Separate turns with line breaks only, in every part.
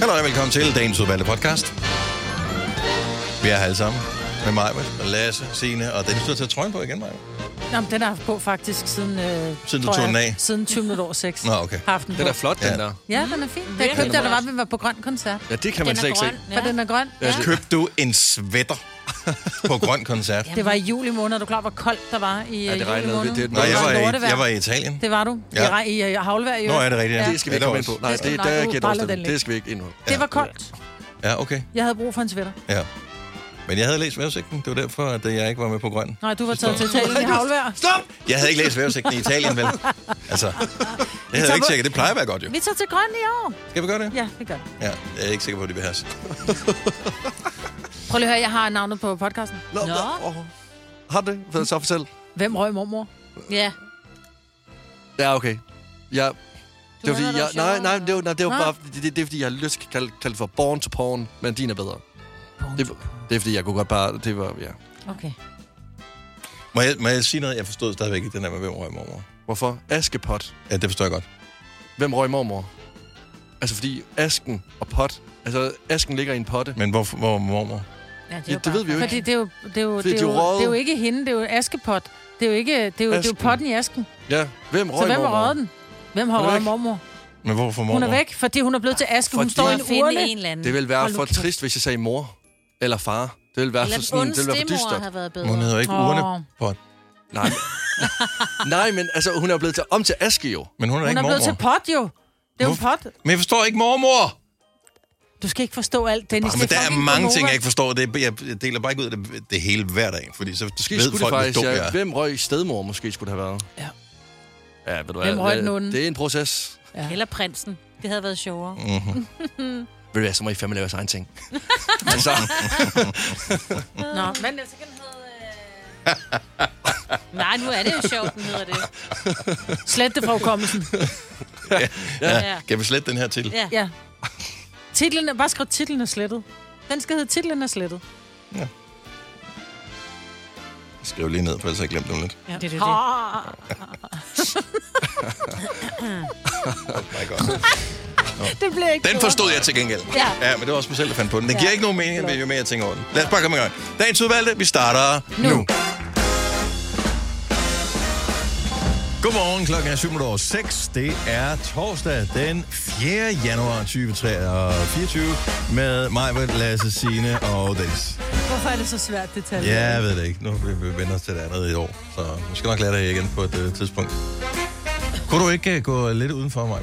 Hallo og velkommen til dagens udvalgte podcast. Vi er her alle sammen med mig, med Lasse, Signe og Dennis. Du har taget trøjen på igen, Maja.
Nå, men den har jeg haft på faktisk siden... Øh,
Siden du
tror
tog den
jeg,
af?
Siden 20 minutter over 6.
Nå, okay.
Haft den
Den
på.
er flot,
Ja.
den der.
Ja, den er fin. Den
Ja,
jeg købte
den er
jeg, da var, vi var på Grøn Koncert.
Ja, det kan man
er
slet ikke se.
grøn.
Ja. For den er grøn. Ja.
Altså-
Købte du en sweater på Grøn Koncert?
Det var i juli måned. Er du klar, hvor koldt der var i ja,
det regnede.
juli måned?
Det- det-
Nå, jeg var, i,
lortevejr.
jeg var i Italien.
Det var du.
Ja.
Ja. I, øh, i, i havlvejr, jo.
Nå, er det rigtigt?
Ja.
Ja.
Det skal vi ikke
Ja,
komme ind
der
på.
var
Nej,
også-
det,
Nej,
der
du
er
baller den
gætafstemning.
lidt.
Det skal vi ikke ind på.
Det var koldt.
Ja, okay.
Jeg havde brug for en sweater.
Ja. Men jeg havde læst vejrudsigten. Det var derfor, at jeg ikke var med på Grøn.
Nej, du var taget til Italien i havlvejr.
Stop! Jeg havde ikke læst vejrudsigten i Italien, vel? Altså, det havde jeg ikke sikkert. Det plejer at være godt, jo.
Vi tager til Grøn i år.
Skal vi gøre det?
Ja, det gør vi.
Ja, jeg er ikke sikker på, at det vil have
Prøv lige at høre, jeg har navnet på podcasten.
Nå,
Nå.
nå, åh. Har du det? Hvad så fortæl?
Hvem røg mormor?
Ja.
Ja, okay. Ja. Det var,
havde
fordi
noget
jeg, nej,
sjovt.
nej, det var, nej, det var
Nå.
bare, det, det, det er, fordi, jeg har lyst til at kalde, kalde det for Born to Porn, men din er bedre. Det, det er, fordi jeg kunne godt bare, det var, ja.
Okay.
Må jeg, må jeg sige noget? Jeg forstod stadigvæk ikke den der med, hvem røg mormor.
Hvorfor? Askepot.
Ja, det forstår jeg godt.
Hvem røg mormor? Altså, fordi asken og pot, altså, asken ligger i en potte.
Men hvor, hvor mormor?
ja det,
Ja,
er
det ved vi jo ikke.
Fordi det er jo, det er jo,
Fordi
det er
de
jo,
røgede.
det er jo ikke hende, det er jo Askepot. Det er jo ikke, det er jo, det er jo
Asken.
potten i asken.
Ja, hvem
Så
røg
hvem har
mormor?
røget den? Hvem har
Hun er
røget
væk.
mormor?
Men hvorfor mormor?
Hun er væk, fordi hun er blevet til aske. Hun
Fordi-
står i
for
en
at finde
urne.
en eller anden.
Det ville være
Hold nu
for
kæft.
trist, hvis jeg sagde mor eller far. Det ville være
Eller
for
den
sådan,
onde
det ville være for
stemor
dystert.
har været bedre.
Hun hedder ikke
Åh.
oh. urne på.
Nej. nej, men altså, hun er jo blevet til, om til aske jo.
Men hun er da
Hun
ikke
er blevet til
mormor.
pot, jo. Det er jo en
Hvorfor?
pot.
Men jeg forstår ikke mormor!
Du skal ikke forstå alt, Dennis.
Ah, men der er mange ting, jeg ikke forstår. Det, jeg, jeg deler bare ikke ud af det, det hele hver dag, fordi så
Måske
ved
skulle det
folk, hvor
faktisk,
dum jeg
ja.
er.
Hvem røg stedmor måske skulle det have været?
Ja.
Ja, ved du
Hvem
hvad,
røg
det-
den onde?
Det er en proces.
Eller prinsen. Det havde været sjovere.
Mm-hmm.
Ved du hvad, så må I fandme lave jeres egen ting. altså,
Nå, men
så altså, kan den hedde... øh, Nej, nu er det jo sjovt, den hedder det.
slet det fra hukommelsen.
Ja. Kan vi slette den her til?
Ja.
Ja. Titlen er, bare skriv, titlen er slettet. Den skal hedde, titlen er slettet.
Skriv lige ned, for ellers har jeg glemt dem lidt.
Ja. Det er det, det.
Ah,
Oh My God.
det bliver ikke
Den forstod jeg til gengæld.
Ja.
ja men det var også mig selv, der fandt på den. Det giver ikke nogen mening, men jo mere jeg tænker over den. Lad os bare komme i gang. Dagens udvalgte, vi starter nu. nu. Godmorgen, klokken er 7 over 6. Det er torsdag den 4. januar 2024 med mig, Lasse Signe og Dennis.
Hvorfor er det så svært, det tal?
Ja, jeg ved det ikke. Nu vi vi vender os til det andet i år, så vi skal nok lære det igen på et øh, tidspunkt. Kunne du ikke øh, gå lidt udenfor mig?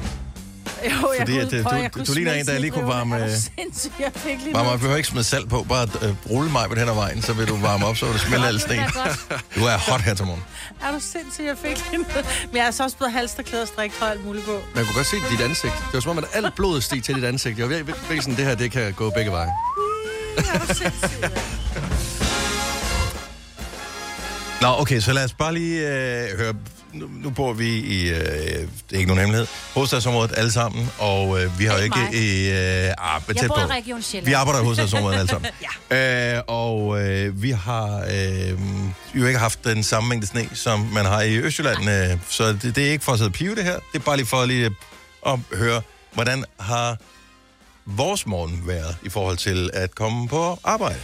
Jo, jeg
Fordi
kunne,
at, øh,
prøv,
du-
jeg kunne
du ligner en, der lige kunne varme,
Øh...
øh,
jeg fik lige
Man
noget.
man behøver ikke smide salt på, bare øh, rulle mig hen ad vejen, så vil du varme op, så vil du smelte alle sten. Du er hot her til morgen.
Er du sindssyg, jeg fik lige noget. Men jeg er så også blevet halsterklæder og striktøj og alt muligt på.
man kunne godt se dit ansigt. Det var som om, at alt blodet steg til dit ansigt. Jeg var virkelig virkelig sådan, det her, det kan gå begge veje.
Nå, okay, så lad os bare lige øh, høre. Nu, nu bor vi i, øh, det er ikke nogen hemmelighed, hovedstadsområdet alle sammen, og øh, vi har jo
Ikke
ikke... I, øh, ah, men
Jeg
tæt
bor
på.
i Region Sjælland.
Vi arbejder i hovedstadsområdet alle sammen. ja. øh, og øh, vi har øh, jo ikke haft den samme mængde sne, som man har i Østjylland. Øh, så det, det er ikke for at sidde og pive det her. Det er bare lige for lige at høre, hvordan har vores morgen været i forhold til at komme på arbejde?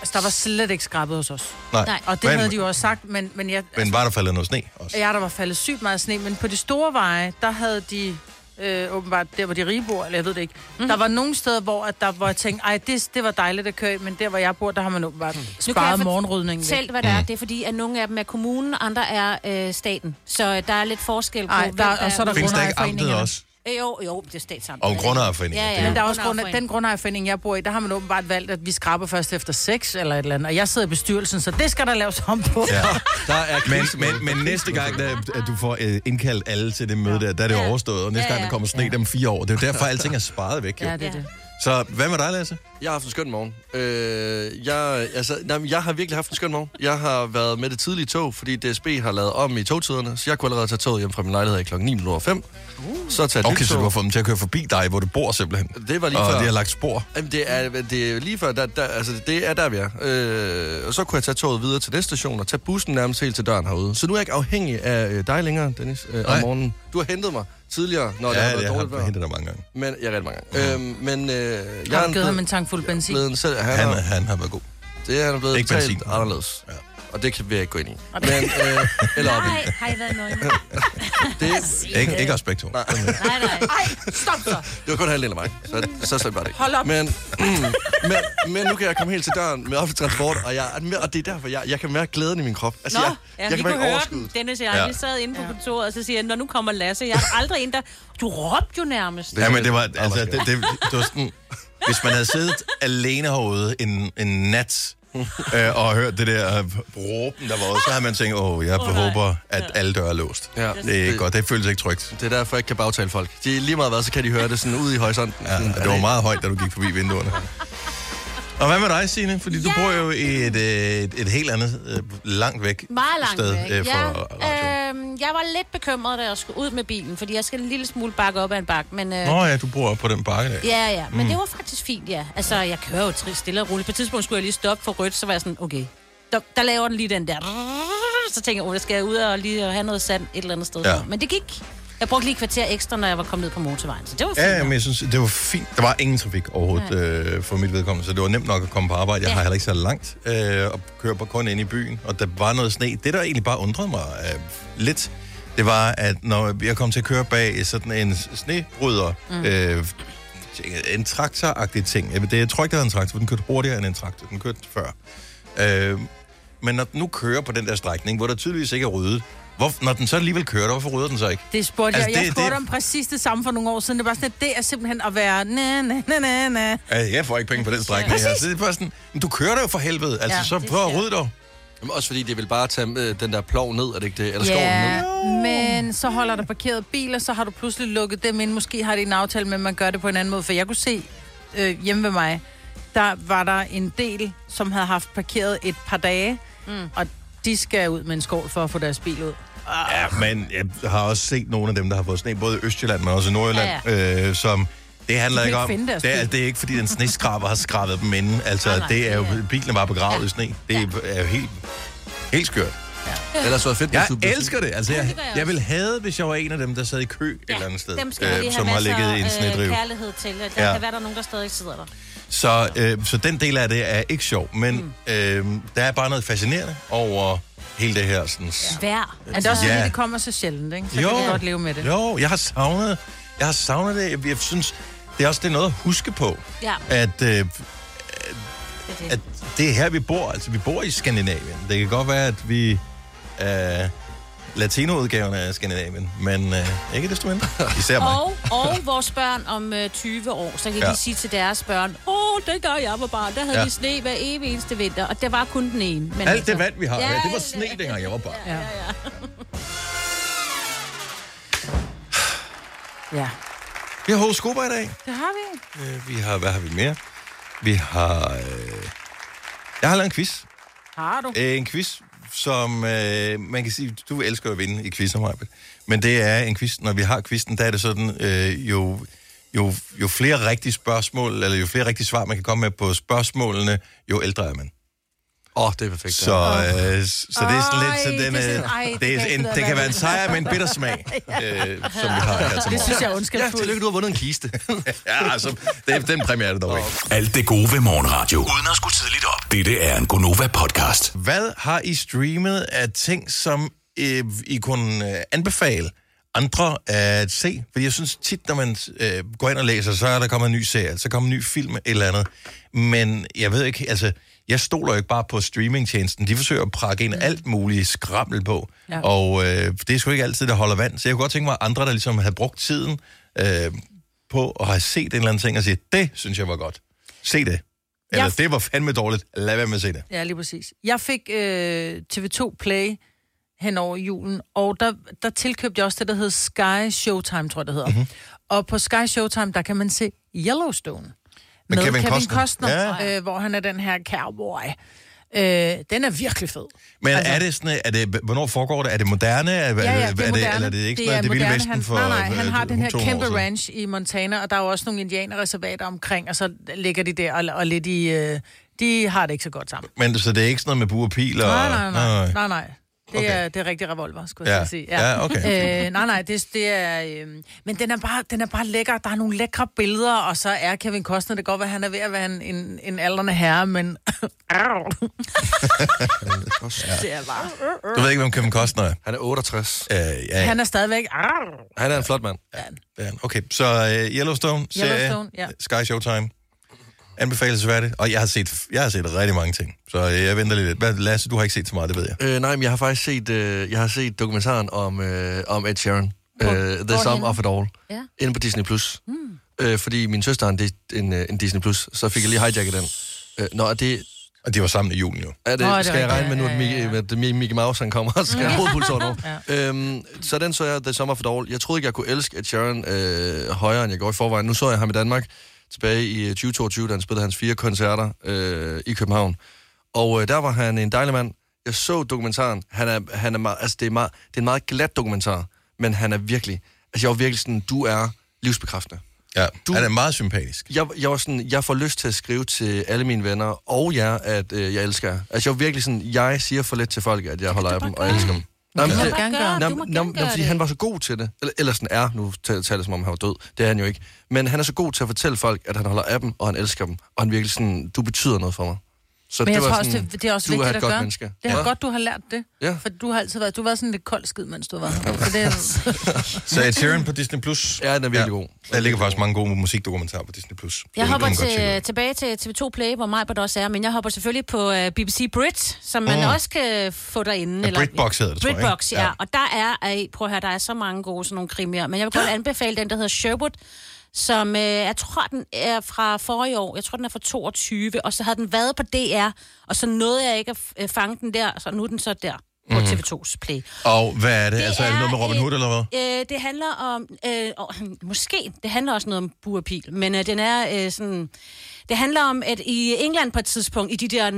Altså, der var slet ikke skrabet hos os.
Nej,
Nej,
Og det
men,
havde de jo også sagt, men, men jeg,
Men var der faldet noget sne også?
Ja, der var faldet sygt meget sne, men på de store veje, der havde de øh, åbenbart, der hvor de rige bor, eller jeg ved det ikke, mm-hmm. der var nogle steder, hvor, at der, hvor jeg tænkte, ej, det, det var dejligt at køre i, men der, hvor jeg bor, der har man åbenbart sparet
jeg
morgenrydningen væk.
Selv hvad det er.
Mhm.
Det er fordi, at nogle af dem er kommunen, andre er øh, staten. Så øh, der er lidt forskel på,
Ej,
hvem
der- og så er der
hvem
Findes der ikke amtet
grundejerforeningerne.
også?
Øh, Jo, jo, det er statsamt.
Og grundejerforeningen.
Ja, ja.
Det er jo-
Men der er også grund,
Grundejerforening.
den grundejerforening, jeg bor i, der har man åbenbart valgt, at vi skraber først efter seks eller et eller andet. Og jeg sidder i bestyrelsen, så det skal der laves om på. Ja.
Ja.
Der er
Men,
krisemøde.
men, men næste gang, da, at du får øh, indkaldt alle til det møde der, der er det
Ja.
overstået, og næste
Ja,
gang, der
ja.
kommer sne om fire år. Det er jo derfor, alting er sparet væk, jo.
Ja, det er det.
Så hvad med dig, Lasse?
Jeg har haft en skøn morgen. Øh, jeg, altså, nej, men jeg har virkelig haft en skøn morgen. Jeg har været med det tidlige tog, fordi DSB har lavet om i togtiderne, så jeg kunne allerede tage toget hjem fra min lejlighed i klokken 9.05. Så tage et
Okay,
nyt
så du har
tog.
fået dem til at køre forbi dig, hvor du bor simpelthen.
Det var lige
Og
før.
det har lagt spor.
Jamen, det er, det er lige før, der, der, altså, det er der, vi er. Øh, og så kunne jeg tage toget videre til næste station og tage bussen nærmest helt til døren herude. Så nu er jeg ikke afhængig af øh, dig længere, Dennis, øh, om
Nej.
morgenen. Du har hentet mig tidligere, når ja, det har
Ja,
været
jeg
dårligt
har
vejr.
hentet dig mange gange.
Men jeg er rigtig mange gange. Øhm, men øh,
Jeg
jeg er
har givet ham
blevet,
en tank fuld benzin.
blevet en selv. Han,
Han,
er,
han har været god.
det er han blevet
Ikke
ikke talt
benzin.
anderledes.
Ja.
Ja. Og det kan vi ikke gå ind i.
Og det-
Men, øh, eller op i.
Nej, har I været nøgne?
Det,
Ikke, ikke også begge to.
nej,
Nej, nej.
Ej, stop så.
det var kun halvdelen af mig. Så, så slemt var det ikke.
Hold op.
Men, mm, men, men nu kan jeg komme helt til døren med offentlig transport, og, jeg, og det er derfor, jeg, jeg kan mærke glæden i min krop. Altså,
Nå,
jeg,
ja,
jeg
vi
kan
kunne
mærke
høre
overskuddet.
den. Dennis og jeg,
Ja.
ja. vi sad inde på kontoret, og så siger jeg, når nu kommer Lasse, jeg er aldrig en, der... Du råbte jo nærmest.
Ja, men det var, altså, det, det, det var sådan, hvis man havde siddet alene herude en, en nat, øh, og hørt det der øh, råben, der var også, så havde man tænkt, åh, jeg
nej.
håber, at alle døre er låst.
Ja.
Det er ikke godt, det føles ikke trygt.
Det er derfor, jeg ikke kan bagtale folk. De, lige meget hvad, så kan de høre det sådan ude i horisonten.
Ja,
sådan,
det var meget højt, da du gik forbi vinduerne. Og hvad med dig, Signe? Fordi du
Ja.
bor jo i et, øh, et, et helt andet, øh, langt væk
Meget langt
sted
væk.
øh, fra radio.
ja, øh, jeg var lidt bekymret, da jeg skulle ud med bilen, fordi jeg skal en lille smule bakke op ad en bakke, men... Øh,
Nå ja, du bor op på den bakke der.
Ja, ja, men mm. det var faktisk fint, ja. Altså, jeg kører jo tri- stille og roligt. På et tidspunkt skulle jeg lige stoppe for rødt, så var jeg sådan, okay, der, der laver den lige den der. Så tænker jeg, oh, der skal jeg ud og lige have noget sand et eller andet sted.
Ja.
Ja. Men det gik. Jeg brugte lige et kvarter ekstra, når jeg var kommet ned på motorvejen, så det var fint.
Ja, ja, men
nok.
jeg synes, det var fint. Der var ingen trafik overhovedet øh, for mit vedkommende, så det var nemt nok at komme på arbejde. Jeg
Ja.
har heller ikke så langt øh, og kører på kun ind i byen, og der var noget sne. Det, der egentlig bare undrede mig øh, lidt, det var, at når jeg kom til at køre bag sådan en snebryder, mm. øh, en traktoragtig ting. Jeg, ved- det, jeg tror ikke, det var en traktor, for den kørte hurtigere end en traktor. Den kørte før. Øh, men når den nu kører på den der strækning, hvor der tydeligvis ikke er ryddet, hvor, når den så alligevel kører, der, hvorfor rydder den så ikke?
Det spurgte
Altså,
altså, jeg. Jeg
det-
spurgte
det-
det... om præcis det samme for nogle år siden. Det var sådan, at det er simpelthen at være na, na, na, na, na.
Altså, jeg får ikke penge på den strækning her. Så det er bare sådan, men du kører der jo for helvede. Altså, ja,
Ja,
så
det
prøv at
skal.
rydde dog.
Jamen, også fordi det vil bare tage øh, den der plov ned, er det ikke det? Eller skoven
Ja,
ned.
men så holder der parkeret biler, så har du pludselig lukket dem ind. Måske har de en aftale med, at man gør det på en anden måde. For jeg kunne se øh, hjemme ved mig, der var der en del, som havde haft parkeret et par dage. Mm. Og de skal ud med en skål for at få deres bil ud.
Ja, men jeg har også set nogle af dem, der har fået sne, både i Østjylland, men også i Nordjylland, ja, ja. Øh, som... Det handler ikke
De kan ikke
om.
finde deres
det, er,
bil.
det er ikke, fordi den sneskraber har skrabet dem inden. Altså,
Nej, nej,
det er jo,
det er-
bilen var begravet ja. i sne. Det er, er jo helt, helt skørt.
Ellers var det fedt,
Jeg
hvis du blev-
elsker det. Altså,
det
jeg,
gør jeg
jeg ville have, hvis jeg var en af dem, der sad i kø et eller andet sted,
Dem skal øh,
øh,
lige
som
have
har
masser
ligget i en snedrive.
øh, kærlighed til. og Der
Ja.
ja. kan være, der er nogen, der stadig sidder der.
Så, øh, så den del af det er ikke sjov, men mm. øh, der er bare noget fascinerende over hele det her. Sådan, ja.
Vær.
Men det er også
Ja.
fordi, det kommer så sjældent, ikke? Så jo. kan vi godt leve med det.
Jo, jeg har savnet, jeg har savnet det. Jeg, jeg synes, det er også det er noget at huske på,
Ja.
at, øh,
Det, er
at
det.
det er her, vi bor. Altså, vi bor i Skandinavien. Det kan godt være, at vi er latinoudgaven af Skandinavien, men øh, ikke desto mindre. Især mig.
Og, og vores børn om øh, 20 år, så kan
Ja.
ja. de sige til deres børn, åh, oh, dengang jeg var barn, der havde
Ja.
ja. de sne hver evig eneste vinter, og det var kun den ene. Men
Alt det vand, vi har, ja,
Ja,
det var
det-
sne, dengang jeg var barn.
Ja. ja.
Vi har horoskoper i dag.
Det har vi.
Øh, Vi har, hvad har vi mere? Vi har... Øh, jeg har lavet en quiz.
Har du?
Øh, en quiz, som øh, man kan sige, du elsker at vinde i quizzer, Majbet. Men det er en quiz, når vi har quizzen, der er det sådan, øh, jo, jo, jo flere rigtige spørgsmål, eller jo flere rigtige svar, man kan komme med på spørgsmålene, jo ældre er man.
Åh, oh, det er perfekt.
Så, øh, s- så det er sådan lidt,
Ej,
så den,
det er sådan, ej,
øh,
det
det,
kan
er en,
ikke
det kan være en
være.
sejr med en bitter smag, øh, som vi har her til
Det
morgen.
synes jeg er
Altså, Ja,
ondskabsfuldt.
tillykke, du har vundet en kiste.
Ja, altså, det, den præmie er det dog ikke.
Alt det gode ved morgenradio. Uden at skulle tidligt op. Dette er en Gonova-podcast.
Hvad har I streamet af ting, som øh, I kunne øh, anbefale andre at se? Fordi jeg synes tit, når man øh, går ind og læser, så er der kommet en ny serie, så kommer en ny film et eller andet. Men jeg ved ikke, altså, jeg stoler jo ikke bare på streamingtjenesten. De forsøger at prakke ind alt muligt skrammel på. Ja.
Ja.
Og øh, det er sgu ikke altid, der holder vand. Så jeg kunne godt tænke mig, at andre, der ligesom havde brugt tiden øh, på at have set en eller anden ting, og siger, det synes jeg var godt. Se det. Eller
Jeg-
det var fandme dårligt. Lad være med at se det.
Ja, lige præcis. Jeg fik øh, TV2 Play hen over julen, og der, der tilkøbte jeg også det, der hedder Sky Showtime, tror jeg, det hedder.
Mhm.
Mm-hmm. Og på Sky Showtime, der kan man se Yellowstone. Med,
Kevin
Kevin,
Costner.
Costner, Costner ja. øh, hvor han er den her cowboy. Øh, den er virkelig fed.
Men altså, er det sådan, er det, hvornår foregår det? Er det moderne? Er, ja,
Ja, ja, det er,
er det,
moderne.
eller er det ikke sådan, det,
er
det vilde
moderne.
vesten
han,
for
Nej, nej,
øh,
han har den her
200 år
kæmpe
siden?
ranch i Montana, og der er jo også nogle indianerreservater omkring, og så ligger de der og, og lidt i... Øh, de har det ikke så godt sammen.
Men så det er ikke sådan noget med bue og pil? Og,
Nej, nej, nej. nej, nej. Det,
Okay.
okay. er, det er rigtig revolver, skulle
Ja.
jeg til at sige.
Ja, okay.
Øh, nej, nej, det, det er... Øh, men den er, bare, den er bare lækker. Der er nogle lækre billeder, og så er Kevin Costner, det kan godt være, han er ved at være en, en, en aldrende herre, men... Au. det er bare...
Du ved ikke, hvem Kevin Costner er.
Han er 68.
Øh, ja,
Han er stadigvæk... Au.
Han er en flot mand.
det er han. Okay, så øh, Yellowstone,
Yellowstone,
serie,
ja.
Sky Showtime. Anbefalesværdigt. Og jeg har set, jeg har set rigtig mange ting, så øh, jeg venter lige lidt. Hvad, Lasse, du har ikke set så meget, det ved jeg.
Øh, nej, men jeg har faktisk set, øh, jeg har set dokumentaren om, øh, om Ed Sheeran.
Hvor-
Øh, The
hvorhenne?
Sum of It All.
Ja.
Inde på Disney+. Plus. Mm. Øh, fordi min søster har en, Dis- en, øh, en Disney+, Plus, så fik jeg lige hijacket den. Øh, nå, er det,
Og de var sammen i julen jo.
er det,
Nå, er
Nå,
det
skal jeg
rigtigt?
regne med nu, at
Ja, ja,
Mickey,
ja. Mm.
med, at Mickey Mouse han kommer og skal have hovedpulsåren over. øhm, så den så jeg The Summer of It All. Jeg troede ikke, jeg kunne elske Ed Sheeran øh, højere, end jeg gjorde i forvejen. Nu så jeg ham i Danmark tilbage i øh, 2022, da han spillede hans fire koncerter øh, i København. Og øh, der var han en dejlig mand. Jeg så dokumentaren. Han er, han er meget, altså, det, er meget, det er en meget glat dokumentar, men han er virkelig... Altså, jeg var virkelig sådan, du er livsbekræftende
Ja, du...
Du-
han er meget sympatisk.
jeg, jeg var sådan, jeg får lyst til at skrive til alle mine venner og jer, at øh, jeg elsker jer. Altså, jeg var virkelig sådan, jeg siger for lidt til folk, at jeg holder af dem og elsker dem. Nej, men
må
det,
gerne gøre
nej, nej, nej, nej, fordi han var så god til det. Eller, eller sådan er, nu tal- taler jeg som om han var død. Det er han jo ikke. Men han er så god til at fortælle folk, at han holder af dem, og han elsker dem. Og han virkelig sådan, du betyder noget for mig. Så
Men jeg
det
tror
var
også,
sådan,
det, det er også
du
vigtigt
er et
at
godt
gøre.
menneske.
Det er godt, du har lært det.
Ja.
For du har altid været, du har været sådan lidt kold skid, mens du var her. Så det er,
Så Ed Sheeran på Disney+. Plus.
Ja, den er virkelig god.
Der ligger faktisk mange gode musikdokumentarer på Disney+. Plus.
Jeg hopper til, øh, tilbage til TV2 Play, hvor Majbert også er, men jeg hopper selvfølgelig på uh, BBC Brit, som man
Mm.
mm. også kan få derinde.
Ja, Britbox hedder det, tror jeg, ikke?
Britbox, ja.
Ja.
ja. Og der er, ej, prøv at høre, der er så mange gode sådan nogle krimier, men jeg vil godt anbefale den, der hedder Sherwood, som øh, jeg tror, den er fra forrige år. Jeg tror, den er fra 22, og så havde den været på DR, og så nåede jeg ikke at øh, fange den der, så nu er den så der på TV2's Play.
Mm. Og hvad er det? det
Det
altså, er det noget med
er
Robin
et-
Hood, eller hvad?
Øh, det handler om, øh, og, måske, det handler også noget om burpil, men øh, den er øh, sådan, det handler om, at i England på et tidspunkt, i de der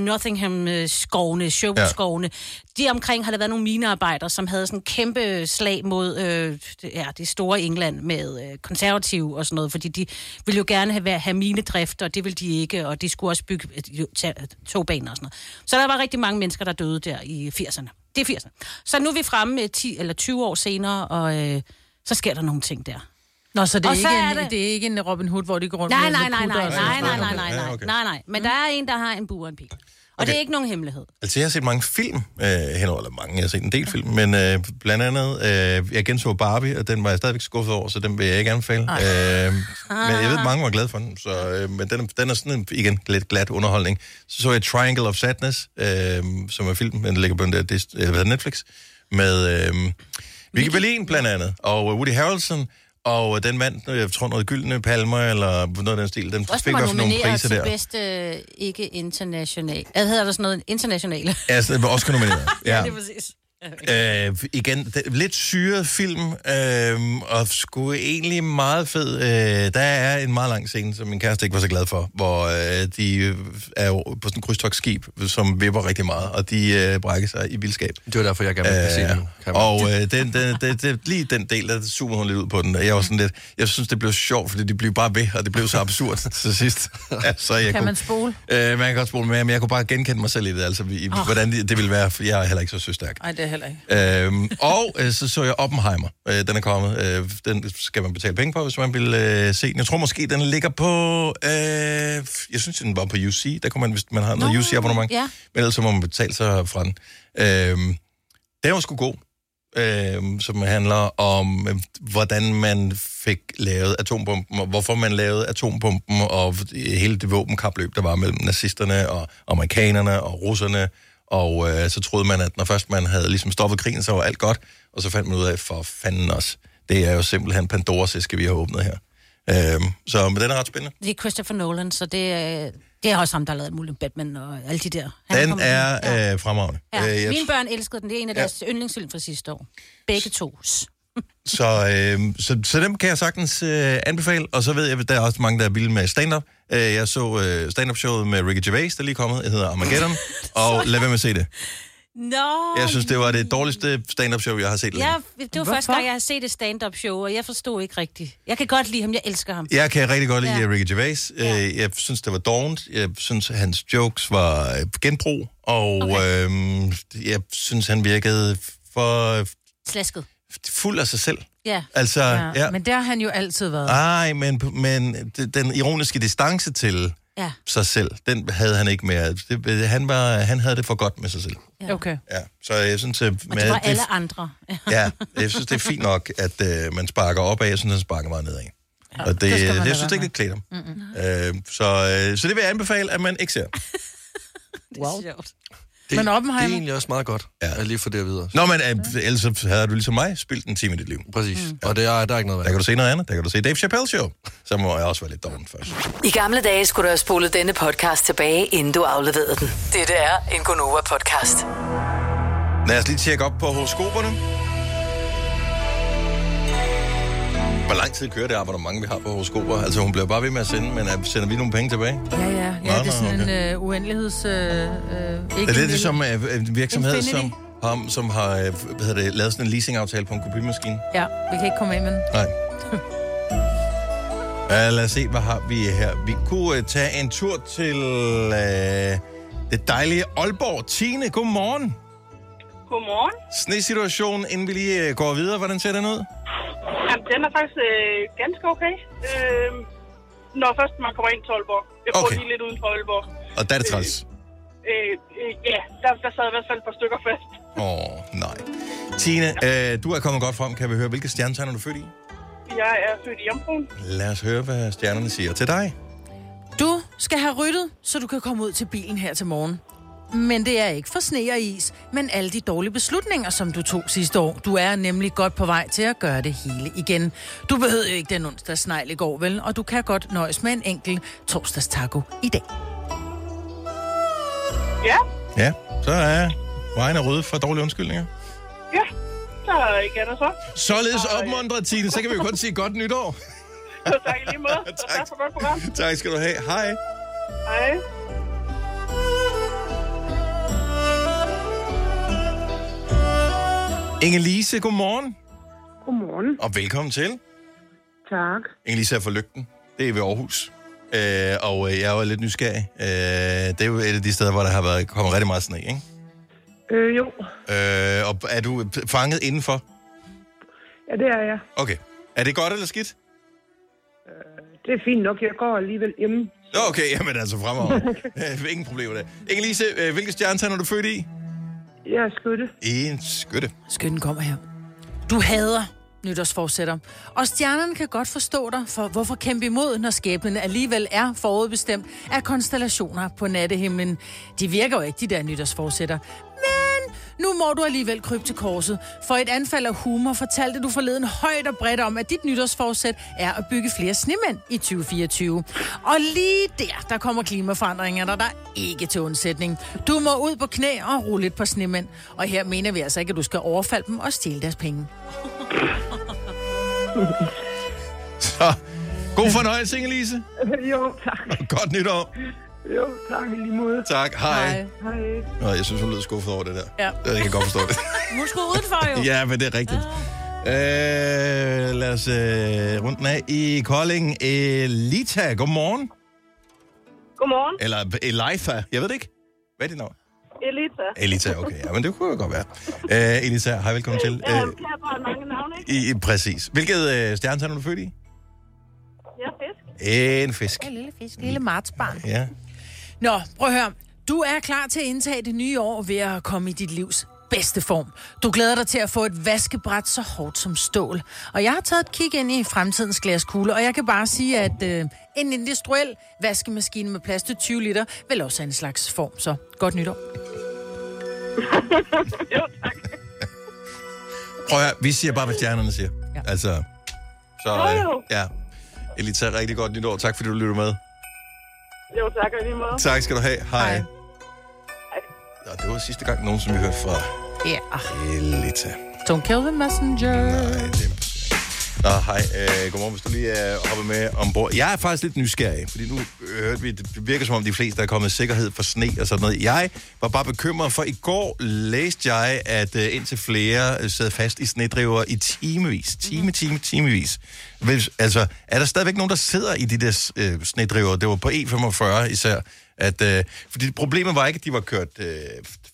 Nottingham-skovene, Sherwood-skovene, ja. de omkring har der været nogle minearbejdere, som havde sådan kæmpe slag mod øh, det, ja, det store England med øh, konservative og sådan noget, fordi de ville jo gerne have, have minedrift, og det ville de ikke, og de skulle også bygge øh, jo, ta- togbaner og sådan noget. Så der var rigtig mange mennesker, der døde der i 80'erne. Det er 80'erne. Så nu er vi fremme øh, 10 eller 20 år senere, og øh, så sker der nogle ting der.
Nå, så det er,
Og
ikke,
så
er
er
en, det.
det-
det er ikke en Robin Hood, hvor de går rundt
Nej,
med
nej,
med
nej, nej,
kutter
nej,
og sådan
nej,
noget.
nej, nej, nej,
Ja,
nej,
okay.
nej, nej. Men der er en, der har en bur og en pil. Og det er ikke nogen hemmelighed.
Altså, jeg har set mange film øh, henover, eller mange, jeg har set en del film, men øh, blandt andet, øh, jeg genså Barbie, og den var jeg stadigvæk skuffet over, så den vil jeg ikke anbefale. Øh, men jeg ved, mange var glade for den, så, øh, men den, er- den er sådan en, igen, lidt glat underholdning. Så så jeg Triangle of Sadness, øh, som er film, den ligger på den der Dis- eller hvad hedder det, Netflix, med øh, Vicky Berlin blandt andet, og øh, Woody Harrelson, og øh, den vandt, øh, jeg tror, noget gyldne palmer, eller noget af den stil. Den
Også
fik i
den var
hvert fald nogle
nomineret
priser
til
der.
bedste øh, ikke international. Hvad hedder der sådan noget? Internationale.
Ja, så den var også nomineret. ja.
det er præcis.
Øh, igen, d- lidt syret film, øh, og sgu egentlig meget fed. Øh, der er en meget lang scene, som min kæreste ikke var så glad for, hvor øh, de øh, er jo på sådan et krydstogsskib, som vipper rigtig meget, og de øh, brækker sig i vildskab.
Det var derfor, jeg gerne ville se
Øh,
den. kan man-
og øh, den, den, den, den, lige den del, der zoomer hun lidt ud på den, og jeg var sådan lidt, jeg synes, det blev sjovt, fordi det blev bare ved, og det blev så absurd til sidst. altså, jeg
Kan man spole?
Øh, man kan godt spole med, men jeg kunne bare genkende mig selv i det, altså, i, oh. hvordan det, det ville være, for jeg er heller ikke så søstærk.
Nej, det er heller ikke.
Øhm, og øh, så så jeg Oppenheimer. Øh, den er kommet. Øh, den skal man betale penge på, hvis man vil øh, se den. Jeg tror måske, den ligger på... Øh, jeg synes, den var på UC. Der kunne man, hvis man har noget
Nå,
UC-abonnement.
ja.
Men ellers så må man betale sig fra den. Øhm, den var sgu god. Øhm, som handler om, øh, hvordan man fik lavet atombomben, og hvorfor man lavede atombomben, og hele det våbenkapløb, der var mellem nazisterne og amerikanerne og russerne. Og øh, så troede man, at når først man havde ligesom stoppet krigen, så var alt godt. Og så fandt man ud af, for fanden os, det er jo simpelthen Pandoras æske, vi har åbnet her. Øhm, så men den er ret spændende.
Det er Christopher Nolan, så det, er- det er også ham, der har lavet muligt Batman og alle de der. Han
Den
kommet
er
med. Ja.
øh, fremragende. Øh,
Ja.
jeg
Mine børn elskede den. Det er en af deres yndlingsfilm fra sidste år. Begge tos.
Så, øh, så, så dem kan jeg sagtens øh, anbefale, og så ved jeg, at der er også mange, der er vilde med stand-up. Øh, jeg så øh, stand-up-showet med Ricky Gervais, der lige er kommet, det hedder Armageddon, og lad være med at se det.
Nå,
Jeg synes, det var det dårligste stand-up show, jeg har set længe.
jeg, det var første
Hvorfor?
gang, jeg har set et stand-up show, og jeg forstod ikke rigtigt. Jeg kan godt lide ham, jeg elsker ham.
Jeg kan rigtig godt lide
Ja.
ja. Ricky Gervais. Ja. Jeg synes, det var dovent. Jeg synes, hans jokes var øh, genbrug. Og okay. øhm, jeg synes, han virkede for
Slasket.
fuld af sig selv.
Ja.
Altså, ja. ja. Ah.
Men det har han jo altid været.
Ej, men, men d- den ironiske distance til
Ja.
sig selv, den havde han ikke mere. Det, han, var, han havde det for godt med sig selv.
Ja.
Okay.
Ja. Så jeg synes, at,
Og det var alle andre.
ja, jeg synes, det er fint nok, at øh, man sparker op af, jeg synes, han sparker meget nedad. Ja, og det,
det
det,
skal man
det
lade
jeg synes
være
ikke, det klæder ham. Øh, så, øh, så det vil jeg anbefale, at man ikke ser.
Wow.
Sjovt.
Det,
Men Oppenheimer-
Det er egentlig også meget godt, ja.
Ja.
at lige få det at vide.
Nå, men øh, ellers så havde du ligesom mig spildt en time i dit liv.
Præcis. Mm. Og det er, der er ikke
Der
noget værd.
kan du se noget andet. Der kan du se Dave Chappelle Show. Så må jeg også være lidt doven først.
I gamle dage skulle du have spolet denne podcast tilbage, inden du afleverede den. Dette er en Gonova-podcast.
Lad os lige tjekke op på horoskoperne. Hvor lang tid kører det abonnement, vi har på horoskoper? Altså, hun bliver bare ved med at sende, men øh, sender vi nogle penge tilbage?
Ja, ja. ja
Nå,
det er
nå,
sådan okay. en uh, uendeligheds... Uh, uh,
Det er lidt ligesom øh, en virksomhed,
Infinity.
som, ham, som har øh, hvad hedder det, lavet sådan en leasingaftale på en kopimaskine.
Ja, vi kan ikke komme af med den.
Nej. Ja, lad os se, hvad har vi her. Vi kunne øh, tage en tur til øh, det dejlige Aalborg. Tine, godmorgen.
Godmorgen.
Snesituationen, inden vi lige øh, går videre. Hvordan ser den ud?
Jamen, den er faktisk øh, ganske okay. Øh, når først man kommer ind til Aalborg. Jeg bor
Okay.
lige lidt uden for Aalborg.
Og der er det træls.
Øh, øh, ja, der, der sad i hvert fald et par stykker fast.
Åh, oh, nej. Tine, øh, du er kommet godt frem. Kan vi høre, hvilke stjernetegn er du født i?
Jeg er født i Jomfruen.
Lad os høre, hvad stjernerne siger til dig.
Du skal have ryddet, så du kan komme ud til bilen her til morgen. Men det er ikke for sne og is, men alle de dårlige beslutninger, som du tog sidste år. Du er nemlig godt på vej til at gøre det hele igen. Du behøvede jo ikke den onsdags snegl i går, vel? Og du kan godt nøjes med en enkelt torsdags taco i dag.
Ja,
Ja, så er vejen er røde for dårlige undskyldninger.
ja. Så er der ikke andet så. øh,
Således opmuntret, Tine, så kan vi jo kun sige godt nytår.
Så tak i lige måde. Så
Tak.
tak for godt program.
tak skal du have. Hej.
Hej.
Inge-Lise, godmorgen.
Godmorgen.
Og velkommen til.
Tak.
Inge-Lise er fra Lygten. Det er ved Aarhus. Øh, og øh, jeg var lidt nysgerrig. Øh, det er jo et af de steder, hvor der har været kommet rigtig meget sne, ikke?
Øh, jo,
Øh, og er du fanget indenfor?
ja, det er jeg.
Okay. Er det godt eller skidt?
Det er fint nok, jeg går alligevel hjemme.
Nå, okay, jamen altså fremover. Øh, Ingen problemer der. Inge-Lise, øh, hvilke stjernetegn er du født i?
Jeg er skytte.
En skytte.
Skytten kommer her. Du hader nytårsforsætter. Og stjernerne kan godt forstå dig, for hvorfor kæmpe imod, når skæbnen alligevel er forudbestemt af konstellationer på nattehimlen. De virker jo ikke, de der nytårsforsætter. Men nu må du alligevel krybe til korset. For i et anfald af humor fortalte du forleden højt og bredt om, at dit nytårsforsæt er at bygge flere snemænd i 2024. Og lige der, der kommer klimaforandringerne, der er ikke til undsætning. Du må ud på knæ og rulle et par snemænd. Og her mener vi altså ikke, at du skal overfalde dem og stjæle deres penge.
Så, god fornøjelse, Inge-Lise.
jo, tak.
Godt nytår.
Jo, tak i lige måde.
Tak, hej. hej.
Hej.
Nå, jeg synes, hun lød skuffet over det der.
Ja.
Jeg kan godt forstå det.
Hun skulle udenfor jo.
ja, men det er rigtigt. Øh, lad os øh, rundt den af i Kolding. Elita, godmorgen.
Godmorgen.
Eller Elifa, jeg ved det ikke. Hvad er dit navn?
Elita.
Elita, okay. Ja, Øh. men det kunne jo godt være. Øh, Elita, hej, velkommen til.
Jeg har kære bare mange navne, ikke?
i, i, præcis. Hvilket øh, stjernetegn er du født i?
Jeg er fisk.
En fisk.
Lille fisk, lille martsbarn.
Ja.
Nå, prøv at høre. Du er klar til at indtage det nye år ved at komme i dit livs bedste form. Du glæder dig til at få et vaskebræt så hårdt som stål. Og jeg har taget et kig ind i fremtidens glaskugle, og jeg kan bare sige, at øh, en industriel vaskemaskine med plads til 20 liter vil også have en slags form. Så godt nytår.
Jo, tak.
Prøv at høre, vi siger bare, hvad stjernerne siger. Ja.
Ja.
Altså, så øh, ja. Elita, rigtig godt nytår. Tak fordi du lytter med.
Jo, tak og i lige måde.
Tak skal du have. Hej.
Hej.
Nå, det var sidste gang nogen, som vi hørte fra
Ja, yeah.
Elita.
don't kill the messenger.
Nej, det er... Nå, hej. Øh, godmorgen, hvis du lige øh, hopper med ombord. Jeg er faktisk lidt nysgerrig, fordi nu øh, hørte vi, det virker som om de fleste er kommet i sikkerhed for sne og sådan noget. Jeg var bare bekymret, for i går læste jeg, at øh, indtil flere øh, sad fast i snedriver i timevis. Time, time, timevis. Hvis, altså, er der stadigvæk nogen, der sidder i de der øh, snedriver? Det var på E45 især. At, øh, fordi problemet var ikke, at de var kørt øh,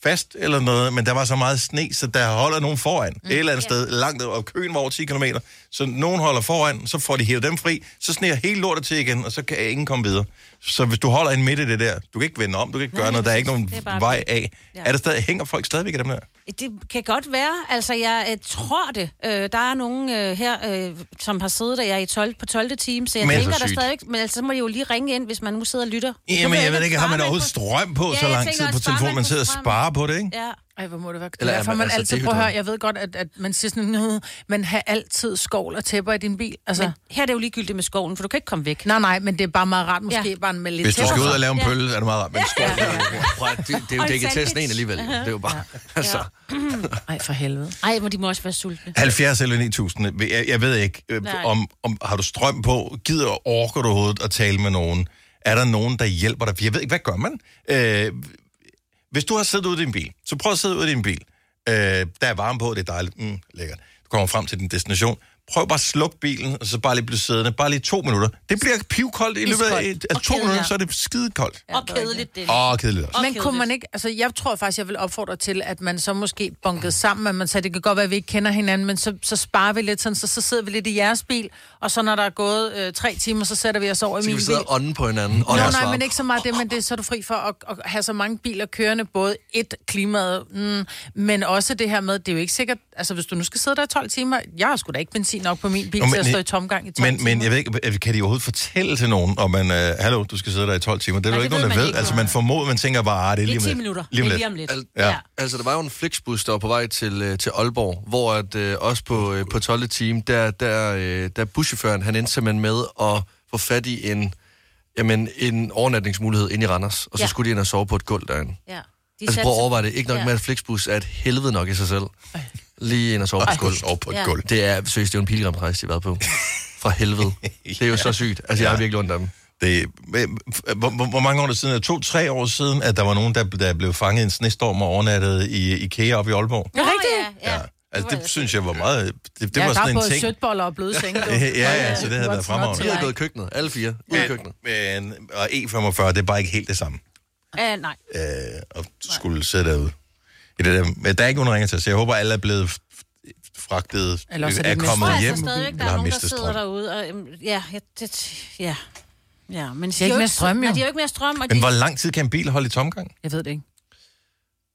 fast eller noget, men der var så meget sne, så der holder nogen foran mm. et eller andet sted, langt ned, og køen var over 10 km. Så nogen holder foran, så får de hævet dem fri, så sneer hele lortet til igen, og så kan ingen komme videre. Så hvis du holder en midt i det der, du kan ikke vende om, du kan ikke gøre noget, der er ikke nogen
Det er bare-
vej af.
Ja.
Er der stadig, hænger folk stadigvæk i dem der?
Det kan godt være. Altså, jeg øh, tror det. Øh, der er nogen øh, her, øh, som har siddet der jeg er i 12, på 12. time, så jeg
Men-
men, tænker
Så
der
sygt.
stadigvæk... Men altså, så må de jo lige ringe ind, hvis man nu sidder og lytter. Nu
Jamen,
ved
jeg ved
om
ikke, har
sparer
man overhovedet strøm på
Ja,
så
jeg
lang
tænker
tid på
også, sparer
telefonen? Man sidder og
på strøm?
sparer på det, ikke?
Ja.
Ej, hvor må det være.
Eller
Eller,
er
Derfor
man
man, man
altså
altid, prøv at høre,
dehydreret?
jeg ved godt, at, at man siger sådan noget, men have altid skovl og tæpper i din bil. Altså, men...
Her er det jo ligegyldigt med skoven, for du kan ikke komme væk.
nej, nej, men det er bare meget rart, måske ja.
Ja.
bare med lidt
Hvis du skal ud og
tæpper.
lave en
Ja.
pølle, er det meget rart. Men skål,
Prøv, at- det, det, er jo
Og en
dækket til af
sandwich.
sneen alligevel. Det er jo bare... Altså,
Ej, for helvede.
Ej, men de må også være sultne.
70 eller 9000, jeg, jeg ved ikke, øh,
Nej.
om, om har du strøm på, gider og orker du overhovedet at tale med nogen? Er der nogen, der hjælper dig? For Jeg ved ikke, hvad gør man? Øh, hvis du har siddet ude i din bil, så prøv at sidde ude i din bil. Øh, der er varme på, det er dejligt, mm, lækkert. Du kommer frem til din destination. Prøv bare at slukke bilen, og så bare lige blive siddende. Bare lige to minutter. Det bliver pivkoldt i løbet af,
Iskoldt.
af
Og
to
kedeligt.
minutter, så er det skide koldt.
Og kedeligt det.
Åh, kedeligt også.
Men kunne man ikke, altså jeg tror faktisk, jeg vil opfordre til, at man så måske bunkede sammen, at man sagde, det kan godt være, at vi ikke kender hinanden, men så, så sparer vi lidt sådan, så, så sidder vi lidt i jeres bil, og så når der er gået øh, tre timer, så sætter vi os over i
så
min
kan vi sidde
bil.
og ånde på hinanden.
Nå,
Ånde og
nej,
svare.
men ikke så meget det, men det, så er du fri for at, at have så mange biler kørende, både et, klimaet, mm, men også det her med, det er jo ikke sikkert, altså hvis du nu skal sidde der i 12 timer, jeg har sgu da ikke benzin nok på min bil
Nå,
Nå,
men
til at
ne-
stå i tomgang i 12
Men,
timer.
men jeg ved ikke, kan de overhovedet fortælle til nogen, om man, øh, hallo, du skal sidde der i 12 timer? Det er jo
Nej,
ikke
det
nogen,
ved
der ved.
man ikke,
altså,
nej.
man formoder, man tænker bare, ah, det er lige
Det er
om
10
lidt.
minutter.
Lige om
Det er
lidt.
lige om lidt.
Al-
Ja.
Altså, der var jo en Flixbus, der var på vej til, øh, til Aalborg, hvor at, øh, også på, øh, på 12. time, der, der, øh, der buschaufføren, han endte simpelthen med at få fat i en, jamen, en overnatningsmulighed inde i Randers, og så ja.
Ja.
skulle de ind og sove på et gulv derinde.
Ja. De
Altså,
satte
prøv at
sig-
overveje det. Ikke nok
Ja.
med, at Flixbus er et helvede nok i sig selv. Lige ind og sove på et
Gulv
gulv.
over på et
Ja.
gulv.
Det er, seriøst, det er jo en pilgrimsrejse, de har været på. For helvede. Det er jo så sygt. Altså, jeg har virkelig ondt af dem.
Det, men, hvor, hvor, hvor mange år er det siden? To-tre år siden, at der var nogen, der, der blev fanget i en snestorm og overnattede i IKEA oppe i Aalborg.
Nå,
Rigtigt?
Ja, ja.
Altså,
Det var
det synes jeg var meget... Det, det
ja,
var
der
sådan
er
en
både
ting.
sødboller og bløde senge. du.
Ja, ja, så det havde
What's
været
not
fremragende.
to
De er
like?
gået i køkøkkenet. Alle fire. Ud i køkkenet.
Men, og E45, det er bare ikke helt det samme.
Ja, nej.
øh, og skulle sætte derude. I det der, men der er ikke nogen, der ringer til os. Jeg håber, alle er blevet f- f- fragtet,
Eller også er de
er
Jeg
mistet-
tror
kommet hjem.
altså stadigvæk, der
har
er nogen, der
mistet
sidder
strøm.
derude. Og, øhm, ja, ja, det, ja. Ja, men de
ikke
har
mere strøm, jo.
Nej, de har jo ikke mere strøm. Og de,
Men hvor lang tid kan en bil holde i tomgang?
Jeg ved det ikke.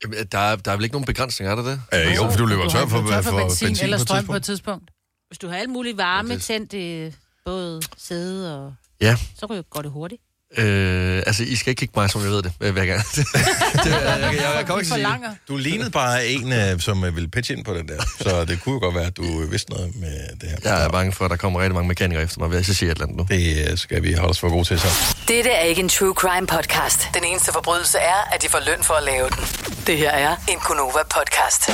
Jamen, øh, der, er, der er vel ikke nogen begrænsninger, er der det?
Øh, jo, for du løber
Altså, Du
tør for,
har løbet tør
for, for benzin, benzin
eller
på et
strøm på et
tidspunkt.
tidspunkt.
hvis du har alt muligt varme
Ja,
ja,
det-
tændt i både sæde og...
Ja.
Så går det- går det hurtigt.
Øh, altså, I skal ikke kigge mig, som jeg ved det, øh, hver gang. det, jeg, jeg, jeg, jeg kommer ikke til at sige det.
Forlanger.
Du lignede bare en, øh, som øh, ville pitche ind på den der. Så det kunne jo godt være, at du øh, vidste noget med det her.
Jeg er bange for, at der kommer rigtig mange mekanikere efter mig, hvis jeg siger et eller andet nu. Øh,
Det øh, skal vi holde os for gode til så.
Dette er ikke en true crime podcast. Den eneste forbrydelse er, at de får løn for at lave den. Det her er en Gunova podcast.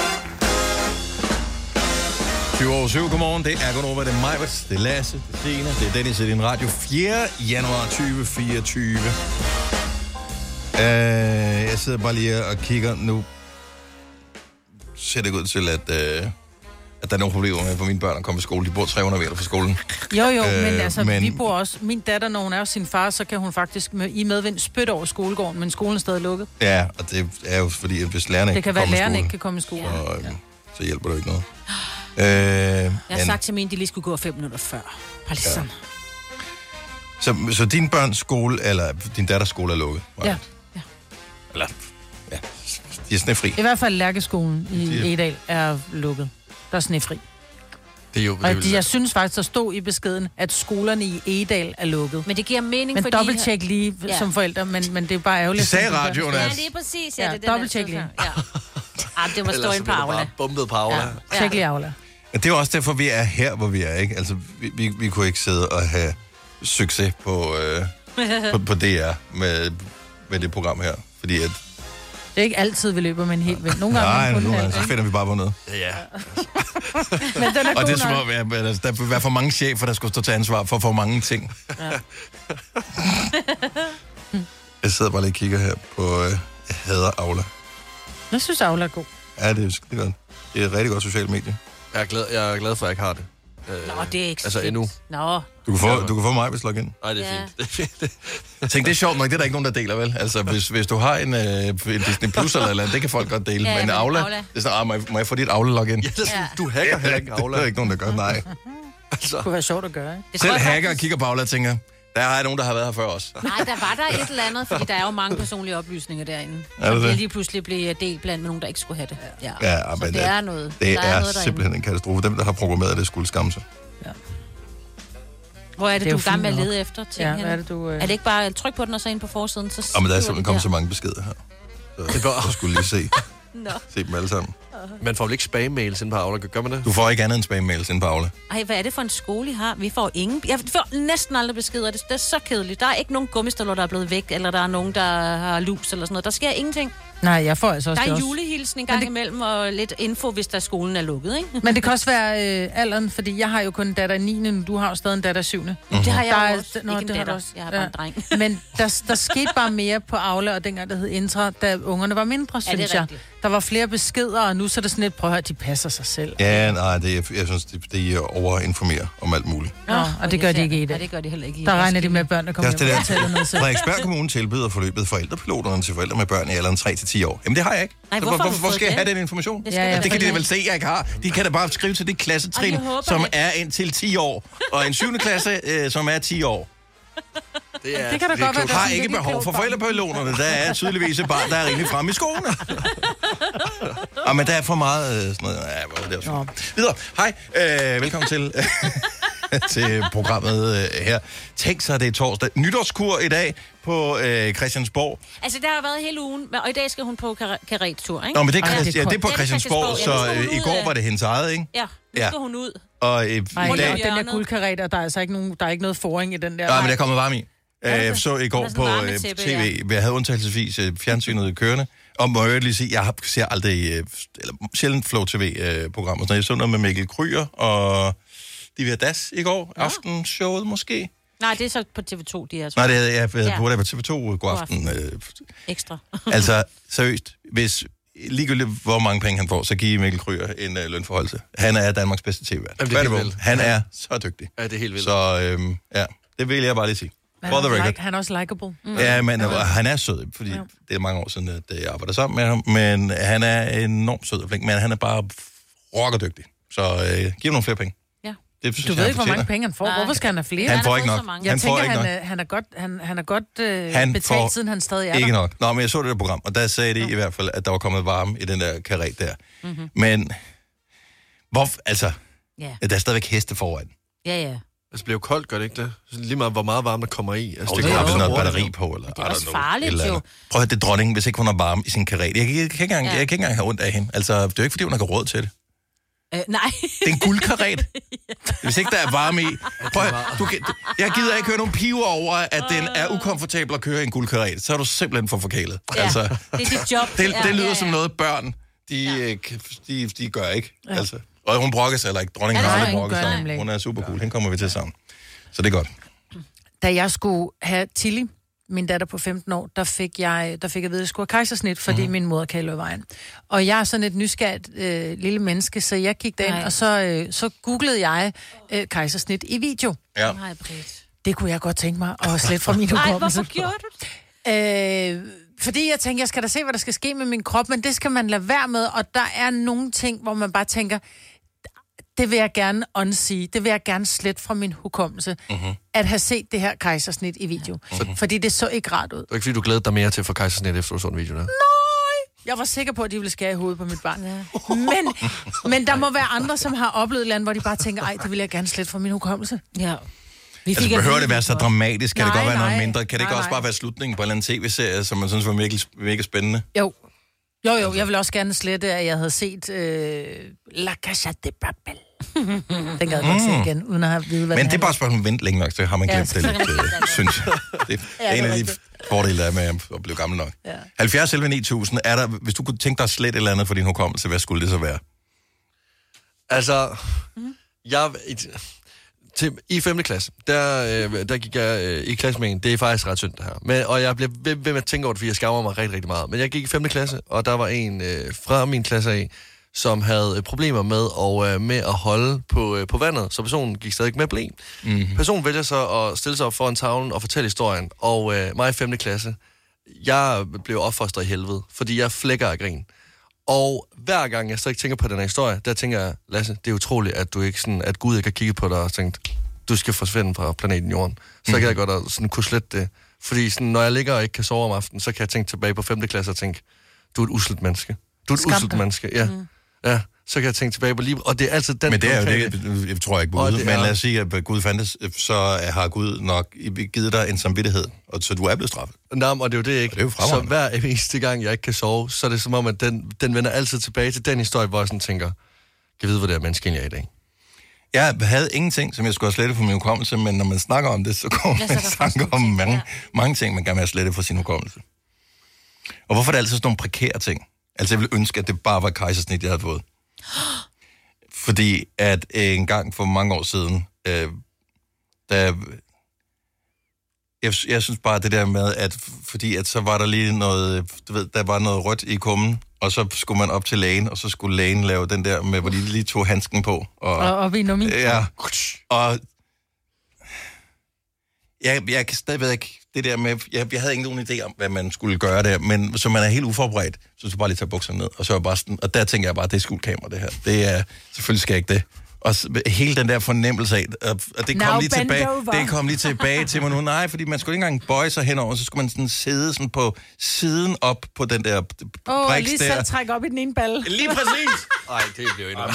20 over 7, godmorgen. Det er Gunova, det er Majbert, det er Lasse, det er Signe, det er Dennis, det er din radio. 4. januar 2024. Uh, jeg sidder bare lige og kigger nu. Ser det ikke ud til, at, uh, at der er nogle problemer med, for mine børn at komme i skole. De bor 300 meter fra skolen.
Jo, jo, øh,
Øh,
men altså,
men-
men... vi bor også... Min datter, når hun er hos sin far, så kan hun faktisk med, i medvind spytte over skolegården, men skolen er stadig lukket.
Ja, og det er jo fordi, at hvis lærerne
Det
ikke
kan være, at
komme i
lærerne ikke
skole,
kan komme i skole. Ja.
og, øhm, så hjælper det jo ikke noget. Øh,
Jeg har
men-
sagt til mine, de lige skulle gå fem minutter før. Bare lige sådan.
så, så din børns skole, eller din datters skole er lukket? Maja?
Ja. Ja.
Eller, ja, de er snefri.
I hvert fald Lærkeskolen
Det-
i Edal er lukket. Der er snefri.
Det er jo...
Og
Det,
de,
vil,
jeg synes faktisk, der stod i beskeden, at skolerne i Edal er lukket.
Men det giver mening,
Men
fordi...
dobbelttjek lige ja.
Ja.
som forældre, men, men det er bare ærgerligt.
De sagde
som børn.
radioen,
Ja,
at
det er præcis.
Ja,
Ja, det er den,
dobbelttjek
der sidder her. Ja. Ej, det må stå
ellers så
ind på
bliver du bare
Aula.
bumpet på Aula.
Ja.
Ja.
Ja. Tjek lige, Aula.
Men det er jo også derfor, vi er her, hvor vi er, ikke? Altså, vi, vi, vi kunne ikke sidde og have succes på, øh, på, på DR med, med det program her. Fordi at
Det er ikke altid, vi løber med en hel vind. Nogle gange
Nej,
Nej,
nu,
kun en
nu,
halv.
så finder vi bare på noget.
Ja.
Men den er
Og
god
det er som
nok.
om, at at der vil være for mange chefer, der skulle stå til ansvar for for mange ting. jeg sidder bare lige og kigger her på... Øh, jeg hader Aula.
Jeg synes, Aula er god.
Ja, det er skide godt. Det er et rigtig godt socialt medie.
Jeg er glad, jeg er glad for, at jeg ikke har det. Øh,
Nå, det er ikke
Altså
så
endnu.
fedt. Nå,
Du kan få, du kan få mig, hvis du logger ind.
Nej, det
Ja.
er fint. Det er fint.
Tænk, det er sjovt nok, det er der ikke nogen, der deler, vel? Altså, hvis, hvis du har en, øh, en Disney Plus eller et eller andet, det kan folk godt dele.
Ja,
Ja, men
men
Aula,
Aula.
det er sådan, ah, må jeg- må jeg få dit Aula-login? Ja,
Ja, det er sådan,
Ja.
du hacker heller ikke
det er der
Aula. Altså.
ikke nogen, der gør, nej.
Det kunne være sjovt at gøre, ikke?
det tror
Selv
jeg
hacker
faktisk-
kigger på Aula og tænker, der er nogen, der har været her før os.
Nej, der var der et eller andet, fordi der er jo mange personlige oplysninger derinde.
Er der
Som
det?
lige pludselig blev delt blandt nogen, der ikke skulle have det. Ja,
Ja,
Så
men
det er noget.
Det
der
er, er
noget derinde.
simpelthen en katastrofe. Dem, der har programmeret det, skulle skamme sig.
Hvor er det,
Det er
du
jo
er i gang med at
fint nok.
lede efter ting?
Ja,
henne?
hvad er det, du, øh,
er det ikke bare tryk på den og så ind på forsiden? Så
Og men der er
skriver
simpelthen
det
kommet så
der?
mange beskeder her. Så det går. Jeg skulle lige se, se dem alle sammen.
Man får vel ikke spam-mails ind på Aula, gør man det?
Du får ikke andet end spam-mails end på Aula.
Ej, hvad er det for en skole, I har? Vi får ingen... Jeg får næsten aldrig beskeder. Det, det er så kedeligt. Der er ikke nogen gummistøvler, der er blevet væk, eller der er nogen, der har lus eller sådan noget. Der sker ingenting.
Nej, jeg får altså også
Der
det
er
også.
julehilsen en gang det... imellem, og lidt info, hvis der skolen er lukket, ikke?
Men det kan også være øh, alderen, fordi jeg har jo kun en datter i 9. men Du har jo stadig en datter i 7. Mm-hmm.
Det har
Der
jeg
er-
jo også.
nå,
Nå, ikke
det
en
har du
datter.
også.
Jeg har bare
Ja.
en dreng.
Men der, der skete bare mere på Aula, og dengang det hed Intra, da ungerne var mindre,
Ja, det er
synes jeg.
rigtigt.
Der var flere beskeder, og nu så er det sådan lidt, prøv at høre, de passer sig selv.
Ja, nej, det, er- jeg synes, det, det er overinformerer om alt muligt.
Nå, og det gør de ikke i
Ja,
dag.
det gør de heller ikke i
Der
dag.
regner de med, at børnene
Det er
kommer
også det
hjem og fortæller
der.
noget selv.
Frederiksberg Kommune tilbyder forløbet forældrepiloterne til forældre med børn i alderen 3-10 år. Jamen det har jeg ikke.
Nej,
Så
hvorfor har
hvorfor,
du
hvor
fået
skal jeg have
den?
den information?
Det
Det,
skal
Ja,
du
ja.
da
det kan de da
heller
vel se, jeg ikke har. De kan da bare skrive til det klassetrin,
Og jeg håber,
som
at-
er indtil 10 år, og en 7. klasse, øh, som er 10 år.
Det, er,
Det kan da godt være,
Du
der er
har
sådan
ikke
lidt
behov for
klogt barn.
forældrepiloterne. Der er tydeligvis et barn, der er rimelig fremme i skoene. Og men der er for meget øh, sådan noget. Ja, hvor er det også.
Nå.
Videre. Hej. Øh, velkommen til, til programmet øh, her. Tænk sig, det er torsdag. Nytårskur i dag på øh, Christiansborg.
Altså, der har været hele ugen, og i dag skal hun på kar- karettur, ikke?
Nå, men det er,
Ej,
Christ-
det er
ja, det er på
koldt.
Christiansborg,
Ja, det er
så
Christiansborg.
øh, i går var det hendes eget, ikke?
Ja, nu
Ja.
skal hun ud.
Og øh, i dag...
Ej,
Rundt om
og
Nej,
den der
hjørnet.
guldkarater, der er altså ikke nogen, der er ikke noget foring i den der.
men der kommer varme i. Øh, så i går
sådan
på
en
øh,
varmetæppe,
tv, jeg havde undtagelsesvis øh, fjernsynet kørende, og må jeg jo lige sige, jeg har- ser aldrig, øh, eller sjældent Flow TV-programmer. Jeg så noget med Mikkel Kryer og Divya Das i går, aftenshowet måske.
Nej, det er så på TV2, de er så
øh, Nej, det havde jeg jeg
Ja.
havde på det på TV2 god aften. Øh,
ekstra.
altså, seriøst, hvis ligegyldigt hvor mange penge han får, så giv Mikkel Kryer en øh, lønforholdelse. Han er Danmarks bedste tv
Jamen, det er helt vildt.
Han er så dygtig.
ja, det er helt vildt. Så.
Så øhm, ja, det vil jeg bare lige sige.
han,
For
er
the
også
record.
like, han er også likable. Mm.
Ja, men øh, han er sød, fordi det er mange år siden, at øh, jeg arbejder sammen med ham, men han er enormt sød og flink, men han er bare rockerdygtig. Så øh, giv ham nogle flere penge.
Ja.
Det synes
Du
jeg,
ved
han
ikke, hvor mange
fortjener.
penge han får.
Nej.
Hvorfor skal han have flere?
Han
Han
får
har
ikke
fået
nok.
så mange.
Jeg
Han får
tænker,
ikke
han,
nok.
er, han er godt, han, han er godt øh,
Han
han betalt,
får
siden han stadig er
Ikke
der.
nok. Nå, men jeg så det der program, og der sagde de i hvert fald, at der var kommet varme i den der karet der.
Mhm.
Mm-hmm. Men, hvor, altså,
Ja,
der er stadigvæk heste foran.
ja, ja.
Altså, det bliver jo koldt, gør det ikke det? Sådan Lige meget, hvor meget varme der kommer i. Altså,
Og det er
op så
sådan noget
hurtigt.
batteri på, eller
det er
I don't
også
know,
farligt,
et eller
jo.
andet. Prøv at høre, det er dronningen, hvis ikke hun har varme i sin karet. Jeg, kan- jeg, kan, ikke engang,
Ja.
jeg kan ikke engang have ondt af hende. Altså, det er jo ikke, fordi hun har råd til det.
Øh, nej,
Det er en guldkaret. Hvis ikke der er varme i. Prøv, at- du, kan- jeg gider ikke høre nogen piver over, at den er ukomfortabel at køre i en guldkaret. Så er du simpelthen for forkælet.
Ja.
Altså,
det er dit job.
det, det lyder som noget, børn de, øh, kan- de, de gør ikke. Altså. Og hun brokker sig heller ikke. Dronningen
Ja,
har
nej,
aldrig
hun
brokket
gør
sig.
nemlig.
Hun er super cool. Hende kommer vi til sammen. Så det er godt.
Da jeg skulle have Tilly, min datter på 15 år, der fik jeg, der fik jeg at vide, at jeg skulle have kejsersnit, fordi
Mhm.
mm. min mor kan løbe vejen. Og jeg er sådan et nysgerrigt øh, lille menneske, så jeg gik derind,
Nej.
og så, øh, så googlede jeg øh, kejsersnit i video.
Ja.
Nej, Britt.
Det kunne jeg godt tænke mig at slet fra min
Ej,
hukommelse.
hvorfor gjorde du det?
Øh, fordi jeg tænker, jeg skal da se, hvad der skal ske med min krop, men det skal man lade være med, og der er nogle ting, hvor man bare tænker, det vil jeg gerne unsige, det vil jeg gerne slet fra min hukommelse,
Mhm.
Mhm.
uh-huh. at have set det her kejsersnit i video. Uh-huh. Fordi det så ikke rart ud.
Det var ikke, fordi du glædede dig mere til at få kejsersnit efter du så en video der.
Jeg var sikker på, at de ville skære i hovedet på mit barn. Ja. Men, men der må være andre, som har oplevet et eller andet, hvor de bare tænker, ej, det vil jeg gerne slet fra min hukommelse.
Ja. Vi
Altså, behøver det være så dramatisk? Kan det
Nej,
godt være noget
nej.
mindre? Kan det ikke
Nej,
også
nej.
bare være slutningen på en eller anden tv-serie, som man synes var virkelig, virkelig spændende?
Jo. Jo, jo,
Altså.
jeg vil også gerne slette, at jeg havde set øh, La Casa de Papel. Den gad jeg godt se igen, uden at have vide, hvad
Mm. Men
den
det er bare
handler
et spørgsmål om at vente længe nok, så har man
Ja,
glemt øh, det
så kan
lidt,
man
øh, synes jeg. Det er en af de fordel, der er med at blive gammel nok. Ja. 70 11 9000, er der, hvis du kunne tænke dig slet et eller andet for din hukommelse, hvad skulle det så være?
Altså, jeg... Et, til, I 5. klasse, der, øh, der gik jeg øh, i klasse med en. Det er faktisk ret synd, det her. Men, og jeg blev ved, ved med at tænke over det, fordi jeg skammer mig rigtig, rigtig meget. Men jeg gik i 5. klasse, og der var en øh, fra min klasse af, som havde øh, problemer med, og, øh, med at holde på, øh, på vandet, så personen gik stadig med blæ. Mm-hmm. Personen vælger så at stille sig op foran tavlen og fortælle historien. Og øh, mig i 5. klasse, jeg blev opfostret i helvede, fordi jeg flækker af grin. Og hver gang jeg så ikke tænker på den her historie, der tænker jeg, Lasse, det er utroligt, at, du ikke sådan, at Gud ikke har kigget på dig og tænkt, du skal forsvinde fra planeten Jorden. Så
Mm-hmm.
kan jeg godt at sådan, kunne slette det. Fordi sådan, når jeg ligger og ikke kan sove om aftenen, så kan jeg tænke tilbage på 5. klasse og tænke, du er et uslet menneske. Du er et
Skam dig.
uslet menneske, ja. Mm. ja. Så kan jeg tænke tilbage på livet. Og det er altid den
Men det er jo
konkrete-
det, jeg tror jeg ikke på
Og
Gud,
det
men
er-
lad os sige, at Gud fandtes, øh, så har Gud nok givet dig en samvittighed, og så du er blevet straffet.
Nå, men, og det er jo det ikke.
Og det er jo
så
fremragende.
hver eneste gang, jeg ikke kan sove, så er det som om, at den, den vender altid tilbage til den historie, hvor jeg sådan tænker, kan vide, hvor det er menneske egentlig er i dag.
Jeg havde ingenting, som jeg skulle have slettet fra min hukommelse, men når man snakker om det, så kommer
Ja,
man
så er
i
der
tanker
faktisk
om
nogle ting,
mange,
ja.
mange ting, man gerne vil have slettet fra sin hukommelse. Og hvorfor er det altid sådan nogle prekære ting? Altså, jeg ville ønske, at det bare var et kejsersnit, jeg havde fået. Fordi at øh, en gang for mange år siden, øh, da jeg, jeg synes bare det der med, at fordi at så var der lige noget, du ved, der var noget rødt i kummen, og så skulle man op til lægen, og så skulle lægen lave den der med, hvor de lige tog handsken på. Og,
Og, og vi er nummi.
Ja. Og jeg, jeg kan stadigvæk det der med, jeg, jeg havde ikke nogen idé om, hvad man skulle gøre der, men så man er helt uforberedt, så skulle jeg bare lige tage bukserne ned, og så er jeg bare sådan, og der tænker jeg bare, det er skjult kamera, det her. Det er, selvfølgelig skal jeg ikke det. Og s- hele den der fornemmelse af, og, og det kom
Now
lige
bend
tilbage,
over.
det kom lige tilbage til mig nu. Nej, fordi man skulle ikke engang bøje sig henover, så skulle man sådan sidde sådan på siden op på den der
Åh, oh,
briks
lige
der.
selv trække op i den ene balle.
Lige præcis!
Nej, det bliver endnu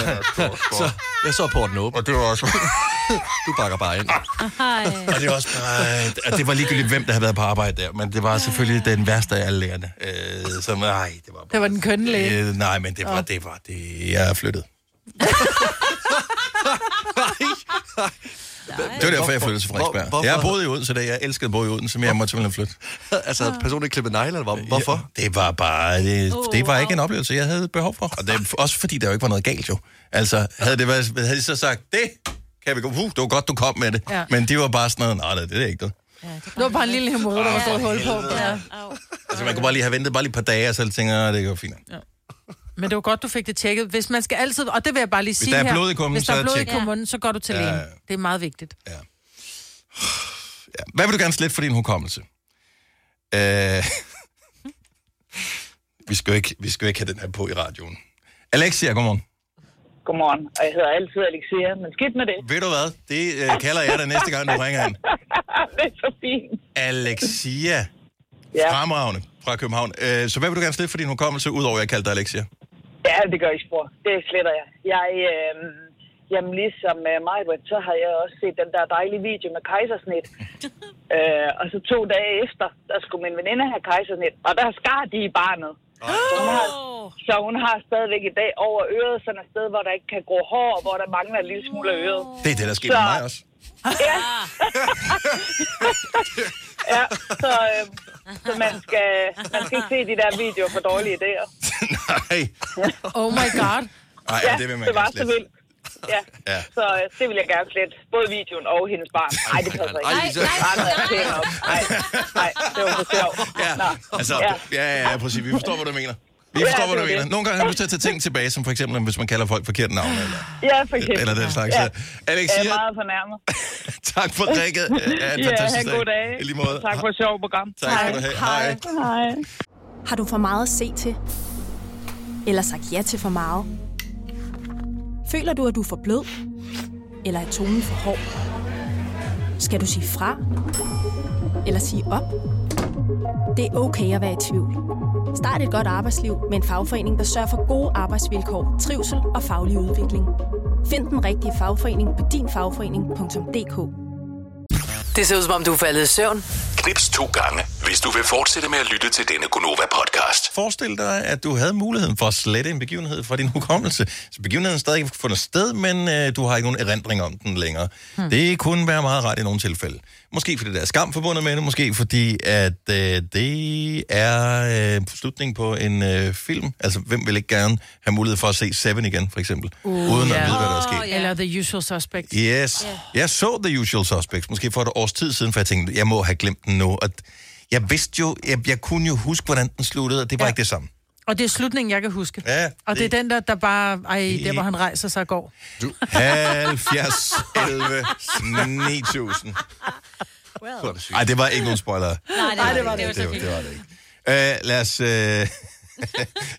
så, Jeg så porten åben.
altså, og det var også...
Du bakker bare ind.
Hej.
Og det var også bare, øh, at det var ligegyldigt, hvem der havde været på arbejde der, men det var selvfølgelig den værste af alle lærerne. Øh, som, nej, det var...
Det var den kønne læge.
Øh, nej, men det var, det var det, jeg er flyttet. Det var derfor, jeg flyttede til Frederiksberg.
Hvor-
jeg
hvorfor-
boede i Odense, da jeg elskede at bo i Odense, men jeg måtte simpelthen flytte.
altså, havde personen ikke klippet negle, eller hvad? hvorfor?
Det var bare... Det,
Oh,
det var ikke
wow.
en oplevelse, jeg havde behov for. Og det, også fordi der jo ikke var noget galt, jo. Altså, havde, det været, havde de så sagt, det kan vi gå... Uh, det var godt, du kom med det.
Ja.
Men det var bare sådan noget, nej, det, det er ikke det.
Det var bare en lille hemorrhoid, der var stået hul på. Ja.
Au.
Altså, man kunne bare lige have ventet bare lige et par dage, og så tænker jeg, det går fint.
Men det var godt, du fik det tjekket. Hvis man skal altid, og det vil jeg bare lige sige
der er
her.
blod i kummen,
hvis der
så
er blod i
tjek.
kummen, så går du til
Ja,
lægen.
ja.
Det er meget vigtigt.
Ja. Hvad vil du gerne slette for din hukommelse? Øh... vi, skal jo ikke, vi skal jo ikke have den her på i radioen. Alexia, godmorgen.
Godmorgen, og jeg hedder altid Alexia, men skidt med det.
Ved du hvad? Det øh, kalder jeg dig næste gang, du ringer ind.
det er så fint.
Alexia.
Ja.
Fremragende fra København. Øh, så hvad vil du gerne slette for din hukommelse, udover at jeg kaldte dig Alexia?
Ja, det gør ikke spor. Det sletter jeg. Jeg, øh, jamen ligesom øh, mig, så har jeg også set den der dejlige video med kejsersnit. øh, og så to dage efter, der skulle min veninde have kejsersnit, og der skar de i barnet. Så hun, har, så hun har stadigvæk i dag over øret sådan et sted, hvor der ikke kan gro hår, og hvor der mangler en lille smule af øret.
Det er det, der skete med
Så-
mig også.
Ja. ja, så, øh, så man, skal, man skal ikke se de der videoer for dårlige idéer.
Nej.
Oh my god.
Ej,
Ja,
det vil man
det var
gerne
så
slette.
vildt. Ja.
Ja.
ja, så øh, det vil jeg gerne slette. Både videoen og hendes barn. Nej, det passer ikke.
Ej, så-
Nej, nej, nej, nej, nej, det var for sjovt.
Ja,
Nå,
altså,
ja.
ja, ja, ja, præcis. Vi forstår, hvad du mener. Vi forstår,
Ja,
hvad
det er
du mener.
det.
Nogle gange har man lyst til at tage ting tilbage, som for eksempel, hvis man kalder folk forkert navn, eller,
ja, for eksempel.
eller den slags.
Ja. Jeg
Alexia,
er meget fornærmet.
Tak for drikket. Ja, en
Ja,
fantastisk
have en god dag.
I lige måde.
Tak for et sjovt program.
Tak skal du have. Hej.
Hej.
Har du for meget at se til? Eller sagt ja til for meget? Føler du, at du er for blød? Eller er tonen for hård? Skal du sige fra? Eller sige op? Det er okay at være i tvivl. Start et godt arbejdsliv med en fagforening, der sørger for gode arbejdsvilkår, trivsel og faglig udvikling. Find den rigtige fagforening på dinfagforening.dk.
Det ser ud som om, du er faldet i søvn.
Knips to gange, Hvis du vil fortsætte med at lytte til denne Gonova-podcast,
Forestil dig, at du havde muligheden for at slette en begivenhed fra din hukommelse. Så begivenheden er stadig fundet sted, men øh, du har ikke nogen erindring om den længere. Hmm. Det kunne være meget rart i nogle tilfælde. Måske fordi der er skam forbundet med det, måske fordi at øh, det er øh, slutningen på en øh, film. Altså, hvem vil ikke gerne have mulighed for at se Seven igen, for eksempel? Uh, uden at vide, hvad der er sket.
ja. Eller The Usual Suspect.
Yes. Yeah. Jeg så The Usual Suspects, måske for et års tid siden, for jeg tænkte, jeg må have glemt den nu. Og jeg vidste jo, jeg, jeg kunne jo huske, hvordan den sluttede, og det var ja. ikke det samme.
Og det er slutningen, jeg kan huske.
Ja,
og det er
det-
den der, der bare... Ej, der hvor han rejser sig og går.
Du.
70, 11, 9000.
Well.
Ej, det var ikke nogen spoiler.
Nej, det, Ej, det var det.
Det,
Det var
var-
så
det
fint.
var det ikke. Uh, lad os... Uh...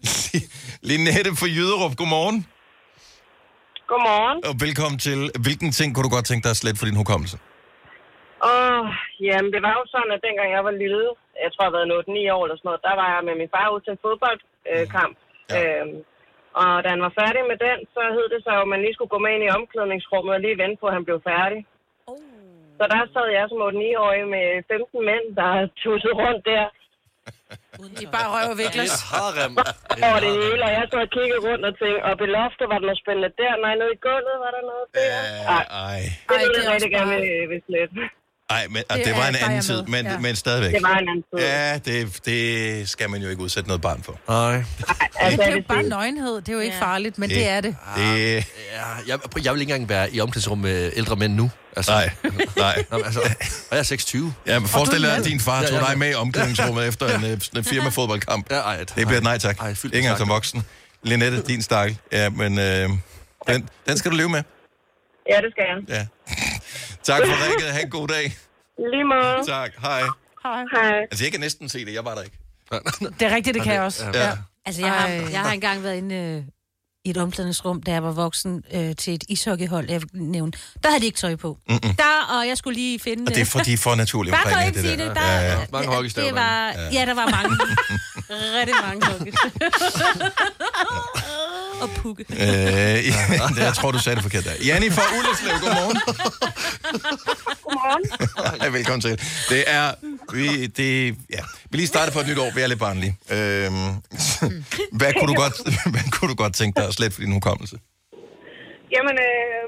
Linette fra Jyderup, godmorgen.
Godmorgen.
Og velkommen til. Hvilken ting kunne du godt tænke dig at slette for din hukommelse?
Åh, jamen det var jo sådan, at dengang jeg var lille, jeg tror jeg har været 8-9 år eller sådan noget, der var jeg med min far ud til en fodboldkamp.
Mm. Ja.
Øh, ja. øhm, og da han var færdig med den, så hed det så, at man lige skulle gå med ind i omklædningsrummet og lige vente på, at han blev færdig.
Oh.
Så der sad jeg som 8-9-årig med 15 mænd, der tussede rundt der
De bare røver Viklas.
harem.
over det hele, og jeg sad og kiggede rundt og tænkte, og beloftet var der noget spændende der, nej, nede i gulvet var der noget der. Nej,
Uh, ej.
det
Ej,
ville
det
jeg
er også
rigtig gerne
bare-
øh, hvis lidt.
Ej, men, og det,
Det
det var
er-
en
der er
anden
jeg
tid,
med.
men, ja.
Ja.
men stadigvæk.
Det var en anden tid.
Ja, det, det skal man jo ikke udsætte noget barn for.
Nej.
Men
Altså,
det er jo
det-
bare nøgenhed. Det er jo ikke farligt, men det er det.
Det,
Ja, jeg, prøv, jeg vil ikke engang være i omklædningsrum med ældre mænd nu. Altså.
nej, nej.
Nå, men altså, og jeg er 26.
Ja, men forestil
du er
dig, at
med.
din far
Ja,
tog
jeg er
dig med i omklædningsrummet efter en, øh, sådan en firmafodboldkamp.
Ja, ej,
Det bliver et nej tak.
Ej,
Ej,
fyldt
Ikke engang som
tak.
voksen. Linette, din stakkel. Ja, men øh, den, den skal du leve med.
Ja, det skal jeg.
Ja. tak for ringet. Ha' en god dag.
Lige måde.
Tak. Hej.
Hej.
Altså, jeg kan næsten se det. Jeg var der ikke.
Det er rigtigt, det kan jeg også.
Ja.
Ja.
Altså, jeg har,
Ej.
jeg har engang været inde øh, i et omklædningsrum, da jeg var voksen, øh, til et ishockeyhold, jeg vil nævne. Der havde de ikke tøj på. Mm-hmm. Der, og jeg skulle lige finde...
Mm. Og det er fordi, for naturligt
Bare for
omkring
at
det,
ikke sige
det
det.
der.
Der,
Ja, ja.
Mange
det-
hockeystaver,
det var, ja. der var mange. Rigtig mange hockeystaver. og pukke.
Øh, ja, jeg tror, du sagde det forkert der. Janni fra Ulleslev, godmorgen.
Godmorgen.
Hej, velkommen til. Det er... Vi, det, ja. vi lige starter på et nyt år, vi er lidt barnlige. Øhm, hvad, kunne du godt, hvad kunne du godt tænke dig at slette for din hukommelse?
Jamen, øh,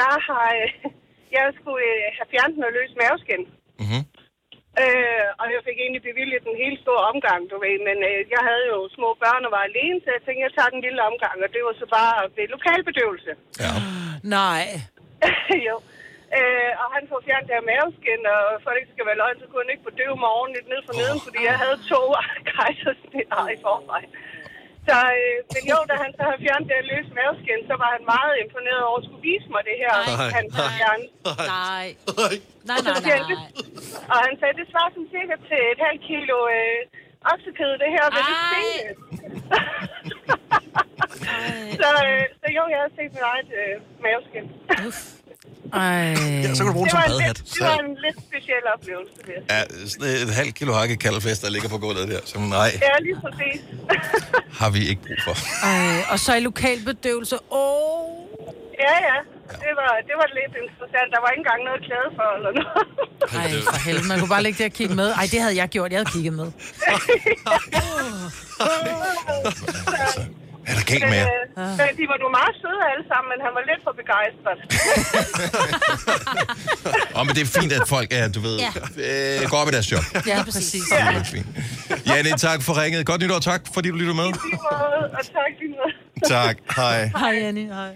jeg har... Øh, jeg skulle øh, have fjernet noget løs maveskin.
Mhm.
Øh, og jeg fik egentlig bevilget en helt stor omgang, du ved. Men øh, jeg havde jo små børn og var alene, så jeg tænkte, jeg tager den lille omgang. Og det var så bare ved lokalbedøvelse.
Ja.
Nej.
jo. Øh, og han får fjernet det her maveskin, og for at det ikke skal være løgn, så kunne han ikke bedøve mig ordentligt ned for neden, fordi jeg havde to kejsersnitter i forvejen. Så, øh, men jo, da han så har fjernet det her løse maveskin, så var han meget imponeret over at skulle vise mig det her,
Nej,
han havde fjernet.
Nej. Nej, nej,
Så
nej.
siger han, "Det- Og han sagde, det svarer sådan cirka til et halvt kilo øh, oksekød, det her, men det
Ej.
stinker. så, øh, så jo, jeg har set mit eget øh, maveskin.
Ej.
Ja, så kan du bruge den
Øh. Det var,
som
en
badehat.
lidt, det var en lidt speciel oplevelse, vil jeg sige.
Ja, sådan et halvt kilo hakket kalderflæsk, der ligger på gulvet der. Som nej,
Ja, lige præcis.
har vi ikke brug for.
Ej. Og så i lokalbedøvelse. Åh. Oh.
ja, ja. Det var, det var lidt interessant. Der var ikke engang noget klæde for eller noget.
Ej, for helvede. Man kunne bare ligge der og kigge med. Ej, det havde jeg gjort. Jeg havde kigget med.
Altså, hvad er der galt
Men,
med jer?
øh,
Ah.
men de var nu meget søde alle sammen, men han var lidt for begejstret.
Åh, men det er fint, at folk er, du ved, øh, går op i deres job.
Ja, præcis.
Det er fint. Janne, tak for ringet. Godt nytår, tak fordi du lytter med.
Lige måde, og tak lige måde.
Tak, hej.
Hej, Annie. Hej.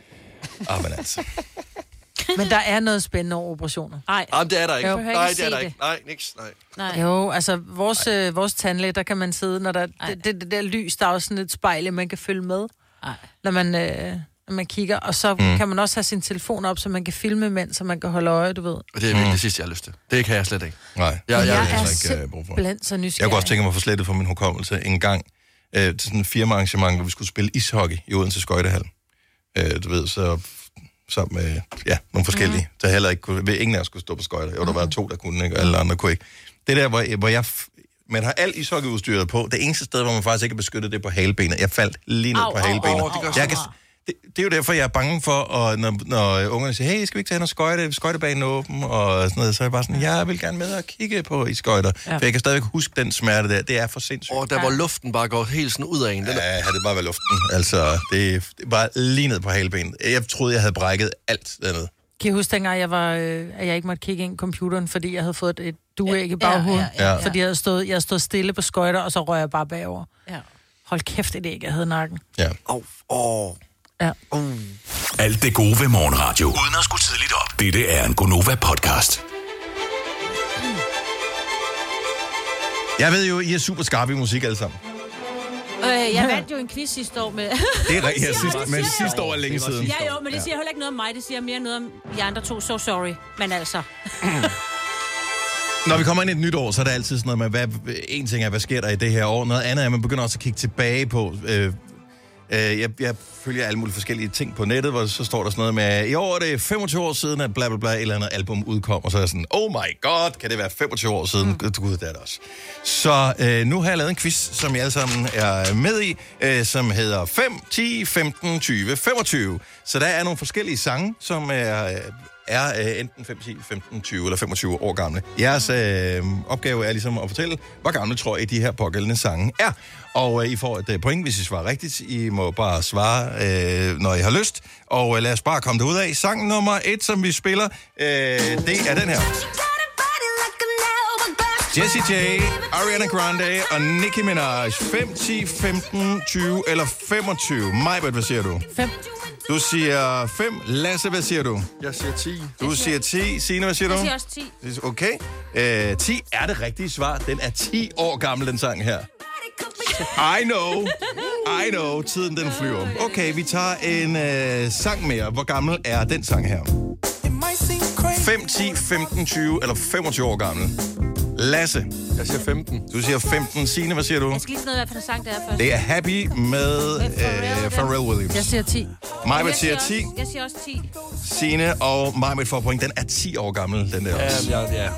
Ah, men altså.
Men der er noget spændende over operationer.
Nej,
Jamen, det er der ikke.
Jeg behøver ikke
Nej,
at
det er
se
der
det.
ikke. Nej, niks, nej.
nej.
Jo, altså vores, øh, vores tandlæge, der kan man sidde, når der det, det, det der lys, der er også sådan et spejl, man kan følge med,
Ej.
når man, øh, når man kigger. Og så mm. kan man også have sin telefon op, så man kan filme mens, så man kan holde øje, du ved.
Og det er virkelig det sidste, jeg har lyst til. Det kan jeg slet ikke.
Nej,
Jeg-
det
jeg
har
er
altså
Jeg
øh, brug for.
simpelthen så
Jeg
nysgerrig.
kunne også tænke mig at få slettet fra min hukommelse en gang øh, til sådan en firmaarrangement, hvor vi skulle spille ishockey i Odense Skøjtehal. Øh, du ved, så sammen med ja, nogle forskellige,
Mhm.
mm. der heller ikke kunne, ved ingen af os skulle stå på skøjter. Jo, der var to, der kunne, ikke, og alle andre kunne ikke. Det der, hvor, hvor jeg... f- Man har alt ishockeyudstyret på. Det eneste sted, hvor man faktisk ikke er beskyttet, det er på halebenet. Jeg faldt lige ned
Au,
på
au,
halebenet.
au, au,
jeg kan, det, det er jo derfor, jeg er bange for, og når, når ungerne siger, hey, skal vi ikke tage hen og skøjte, skøjtebanen er åben, og sådan noget, så er jeg bare sådan, jeg vil gerne med og kigge på i skøjter. Ja.
Ja.
For jeg kan stadigvæk huske den smerte der. Det er for sindssygt.
Og der, hvor luften bare går helt sådan ud af en. Den er,
Ja, det bare var luften. Altså, det, det var lige ned på halbenet. Jeg troede, jeg havde brækket alt dernede.
Kan I huske dengang, jeg var, øh, at jeg ikke måtte kigge ind i computeren, fordi jeg havde fået et duæg i baghovedet?
ja,
Ja, ja,
ja.
ja, Fordi jeg havde, stået, jeg havde stået stille på skøjter, og så røg jeg bare bagover.
Ja.
Hold kæft, et æg, jeg havde i nakken.
Ja.
Åh, åh.
Alt det gode ved morgenradio. Uden at skulle tidligt op. Dette er en Gonova-podcast.
Jeg ved jo, I er super skarpe i musik alle sammen.
Øh, jeg vandt jo en quiz sidste år med...
Det er rigtigt. Ja, sidste, men sidste år er længe siden.
ja jo, men det siger heller ikke noget om mig. Det siger mere noget om de andre to. So sorry. Men altså...
Når vi kommer ind i et nyt år, så er der altid sådan noget med, hvad, en ting er, hvad sker der i det her år? Noget andet er, at man begynder også at kigge tilbage på... Øh, øh, jeg, jeg følger alle mulige forskellige ting på nettet, hvor så står der sådan noget med, i år er det 25 år siden, at bla bla bla, et eller andet album udkom, og så er jeg sådan, oh my god, kan det være 25 år siden? Mm. Gud, det er det også. Så øh, nu har jeg lavet en quiz, som jeg alle sammen er med i, øh, som hedder 5, 10, 15, 20, 25. Så der er nogle forskellige sange, som er øh, er øh, enten 5, 10, 15, 20 eller 25 år gamle. Jeres øh, opgave er ligesom at fortælle, hvor gamle tror I de her pågældende sange er. Og øh, I får et øh, point, hvis I svarer rigtigt. I må bare svare, øh, når I har lyst. Og øh, lad os bare komme derud af. Sang nummer et, som vi spiller, øh, det er den her. Jessie J, Ariana Grande og Nicki Minaj. 5, 10, 15, 20 eller 25. Majbert, hvad siger du?
Fem.
Du siger 5. Lasse, hvad siger du?
Jeg siger 10.
Du siger 10. Signe, hvad siger du?
Jeg siger også 10.
Okay. Øh, 10 er det rigtige svar. Den er 10 år gammel, den sang her. I know. I know. Tiden den flyver. Okay, vi tager en øh, sang mere. Hvor gammel er den sang her? 5, 10, 15, 20 eller 25 år gammel. Lasse,
Jeg siger 15.
du siger 15. Signe, hvad siger du?
Jeg skal lige finde ud af, hvad for en sang det er først.
Det er Happy med øh, Pharrell
Jeg
Williams.
siger 10.
Majbet siger 10,
Også, jeg siger også 10.
Signe og Majbet får point. Den er 10 år gammel, den der også.
ja, ja.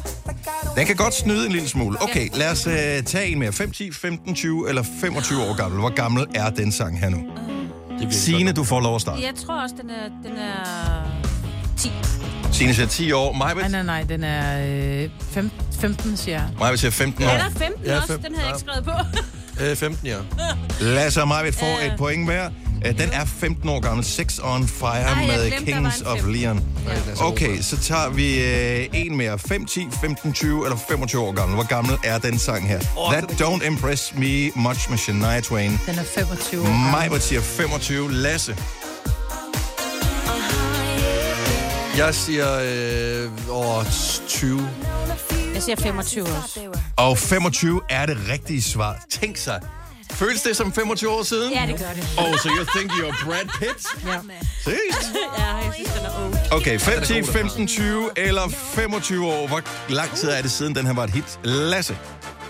Den kan godt snyde en lille smule. Okay, lad os øh, tage en mere. 5, 10, 15, 20 eller 25 år gammel. Hvor gammel er den sang her nu? Signe, du får lov at starte.
Jeg tror også, den er... Den er 10.
Signe siger 10 år.
Nej,
Majbet,
nej, nej, den er øh, fem, 15, siger jeg.
Majbet siger 15
Ja.
år.
Er der 15
Ja,
ja, også?
fem.
Den havde jeg ikke skrevet på.
Øh, 15, ja.
Lasse og Majbet får et point mere. Øh, Den er 15 år gammel. Sex on Fire
jeg
med
glemte, der var
Kings
en
of
15.
Leon.
Lasse
Okay, så tager vi øh, en mere. 5, 10, 15, 20 eller 25 år gammel. Hvor gammel er den sang her? That Don't Impress Me Much med Shania Twain.
Den er 25 år. gammel.
Majbet siger 25. Lasse,
Jeg siger øh, over 20.
Jeg siger 25 også.
Og 25 er det rigtige svar. Tænk sig. Føles det som 25 år siden?
Ja, det gør det.
Oh, so you think you're Brad Pitt?
Ja.
Seriøst?
Ja, jeg synes, den er okay.
Okay, 5, 10, 15, 20 eller 25 år. Hvor lang tid er det siden, den her var et hit? Lasse.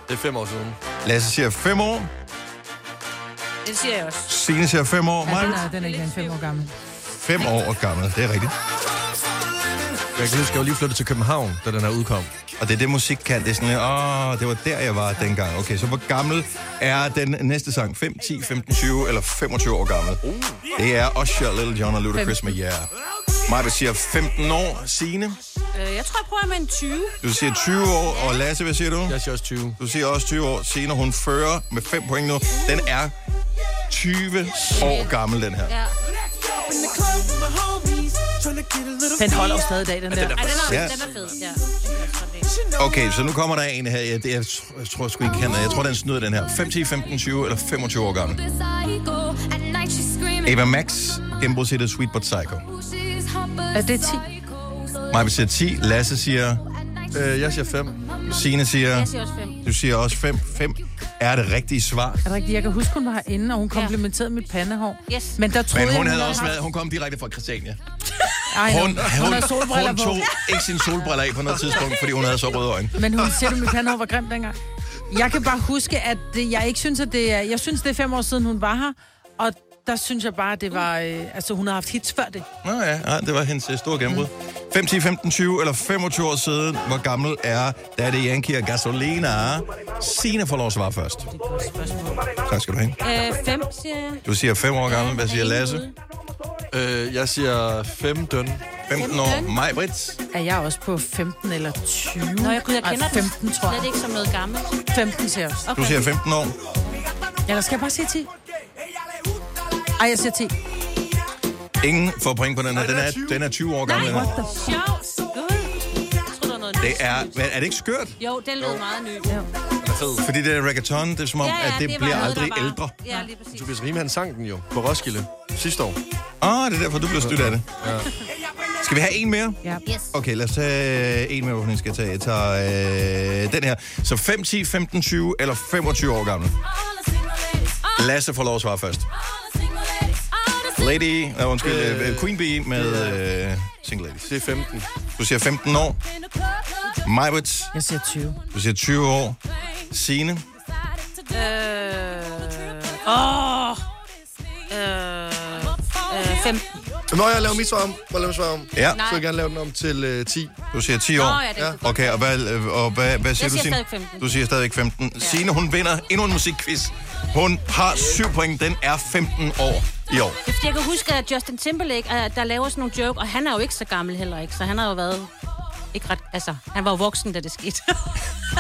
Det er 5 år siden.
Lasse siger 5 år.
Det siger jeg også.
Signe siger 5 år.
Ja, den,
Mig
er, den er ikke mere end 5 år gammel.
5 år gammel. Det er rigtigt.
Jeg kan huske, jeg var lige flyttet til København, da den her udkom.
Og det er det, musik kan. Det er sådan, åh, oh, det var der, jeg var dengang. Okay, så hvor gammel er den næste sang? 5, 10, 15, 20 eller 25 år gammel?
Oh,
Det er Usher, Little John og Ludacris med Yeah. Maja siger 15 år. Signe,
Øh, jeg tror, jeg prøver med en 20.
du siger 20 år. Og Lasse, hvad siger du?
Jeg siger også 20.
Du siger også 20 år. Signe, hun fører med 5 point nu. Den er 20 år gammel, den her.
Ja.
Den holder jo stadig i dag, den der.
Ej, den er,
Ja.
den er fed. Ja.
Okay, så nu kommer der en her. Jeg, jeg, jeg, tror- jeg tror sgu ikke, han er. Jeg tror, den snyder den her. 5, 10, 15, 20 eller 25 år gammel. Eva Max, genbrugshittet Sweet But Psycho.
Er det 10?
Maja siger 10, Lasse siger,
Øh, jeg siger 5.
Signe siger,
Jeg siger også 5.
du siger også 5. 5 er det rigtige svar.
Er det rigtigt? Jeg kan huske, hun var herinde, og hun komplimenterede mit pandehår.
Yes.
Men der troede
Men
jeg,
hun havde
haft-
også været, hun kom direkte fra Christiania.
Ej,
Hun,
hun, hun, havde solbriller
hun
på.
tog ikke sin solbriller af på noget tidspunkt, fordi hun havde så røde øjne.
Men hun siger, at mit pandehår var grimt dengang. Jeg kan bare huske, at øh, jeg ikke synes, at det er... Jeg synes, det er fem år siden, hun var her. Og der synes jeg bare, det var... Øh, altså, hun har haft hits før det.
Nå ja, nej, det var hendes øh, store gennembrud. 5, 10, 15, 20 eller 25 år siden, hvor gammel er Daddy Yankee og Gasolina? Signe får lov at svare først. Tak skal du have.
Øh, fem, siger jeg.
Du siger 5 år gammel. Hvad siger Lasse?
Øh, jeg siger 15.
15 år. Maj Brits.
Er jeg også på 15 eller 20?
Nå, jeg, gud, jeg
Ej,
kender
15,
den
tror
slet
jeg.
ikke som noget gammelt.
15 til os.
Du siger 15 år.
Eller skal jeg bare sige 10? Ej, jeg siger 10.
Ingen får point på den her. Den er, den er 20 år gammel. den her.
What the
Sjovt. Gud. Jeg troede, der var noget
Det
nyt.
er, hvad- er det ikke skørt?
Jo, den lød meget ny. Ja,
Fordi det er reggaeton, det er som om,
ja,
at det,
var
bliver
noget,
aldrig
der var-
ældre.
Ja, lige præcis.
Tobias Riemann han sang den jo på Roskilde sidste år.
Ah, det er derfor, du bliver stødt af det. Skal vi have en mere?
Ja.
Yes.
Okay, lad os tage en mere, hvorfor jeg skal tage. Jeg tager øh, den her. Så 5, 10, 15, 20 eller 25 år gammel. Lasse får lov at svare først. Lady, nej, undskyld, øh, øh, Queen Bee med øh, Single Ladies.
Det er 15.
Du siger 15 år. Majbert,
Jeg siger 20.
du siger 20 år. Signe,
Øh... Åh... Øh... Øh... Fem...
Nå, jeg laver mit svar om. Må lave svar om.
ja,
Så vil jeg gerne lave den om til øh, 10.
du siger 10 år.
Nå, ja, det kunne godt
Okay, og hvad, øh, og hvad, hvad siger
Jeg
du,
siger
Signe?
stadig 15.
Du siger stadigvæk 15. Ja. Signe, hun vinder endnu en musikquiz. Hun har 7 point. Den er 15 år i år.
Det er fordi, jeg kan huske, at Justin Timberlake, øh, der laver sådan nogle joke, og han er jo ikke så gammel heller, ikke? Så han har jo været... Ikke ret... Altså, han var jo voksen, da det skete.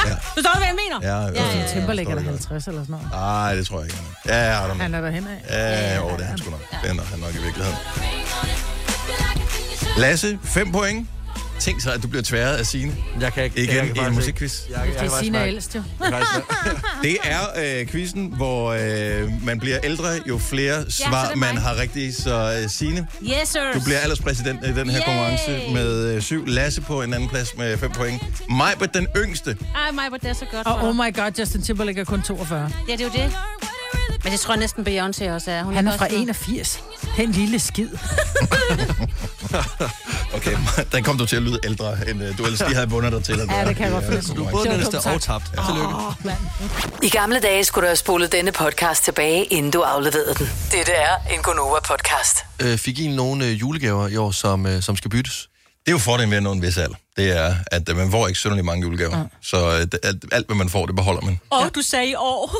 Ja.
Forstår du, hvad jeg mener?
Ja, ja, ja.
Timberlake
Forstår
er
jeg
der 50 eller sådan noget.
Nej, det tror jeg ikke. han er. Ja, jeg har
Han er derhen af.
Ja, jo, det er han sgu nok. Det er nok- han nok i virkeligheden. Lasse, 5 point. Tænk så, at du bliver tværet af Signe.
Jeg kan ikke.
Igen
jeg kan
i en musikquiz.
Jeg, jeg,
Det er Signe ældst, jo.
Det er øh, quizzen, hvor øh, man bliver ældre, jo flere svar
det er mig.
man har rigtigt. Så øh, Signe,
Yes, sir.
du bliver alderspræsident i den her
Yay!
konkurrence med 7. Lasse på en anden plads med 5 point. Majbert, den yngste.
Ej, mig, hvor det er så godt.
Og
for.
oh my god, Justin Timberlake er kun 42.
Ja, det er jo det. Men det tror jeg næsten Beyoncé også er. Hun
Han er
også
fra
sådan-
81. Den lille skid.
Okay, den kom du til at lyde ældre, end øh, du ellers lige havde vundet dig til. at
Ja,
gøre.
det kan jeg godt fornemme.
så
Du
du
er
må
både
ikke-
den næste og tabt. Tillykke.
I gamle dage skulle du have spolet denne podcast tilbage, inden du afleverede den. Dette er en Gonova-podcast.
Øh, fik I nogle øh, julegaver i år, som, øh, som skal byttes?
Det er jo fordelen ved at nå en vis alder. Det er, at øh, man får ikke synderligt mange julegaver. Mm. Så øh, det- alt, alt, hvad man får, det beholder man.
Åh, oh, du sagde i år.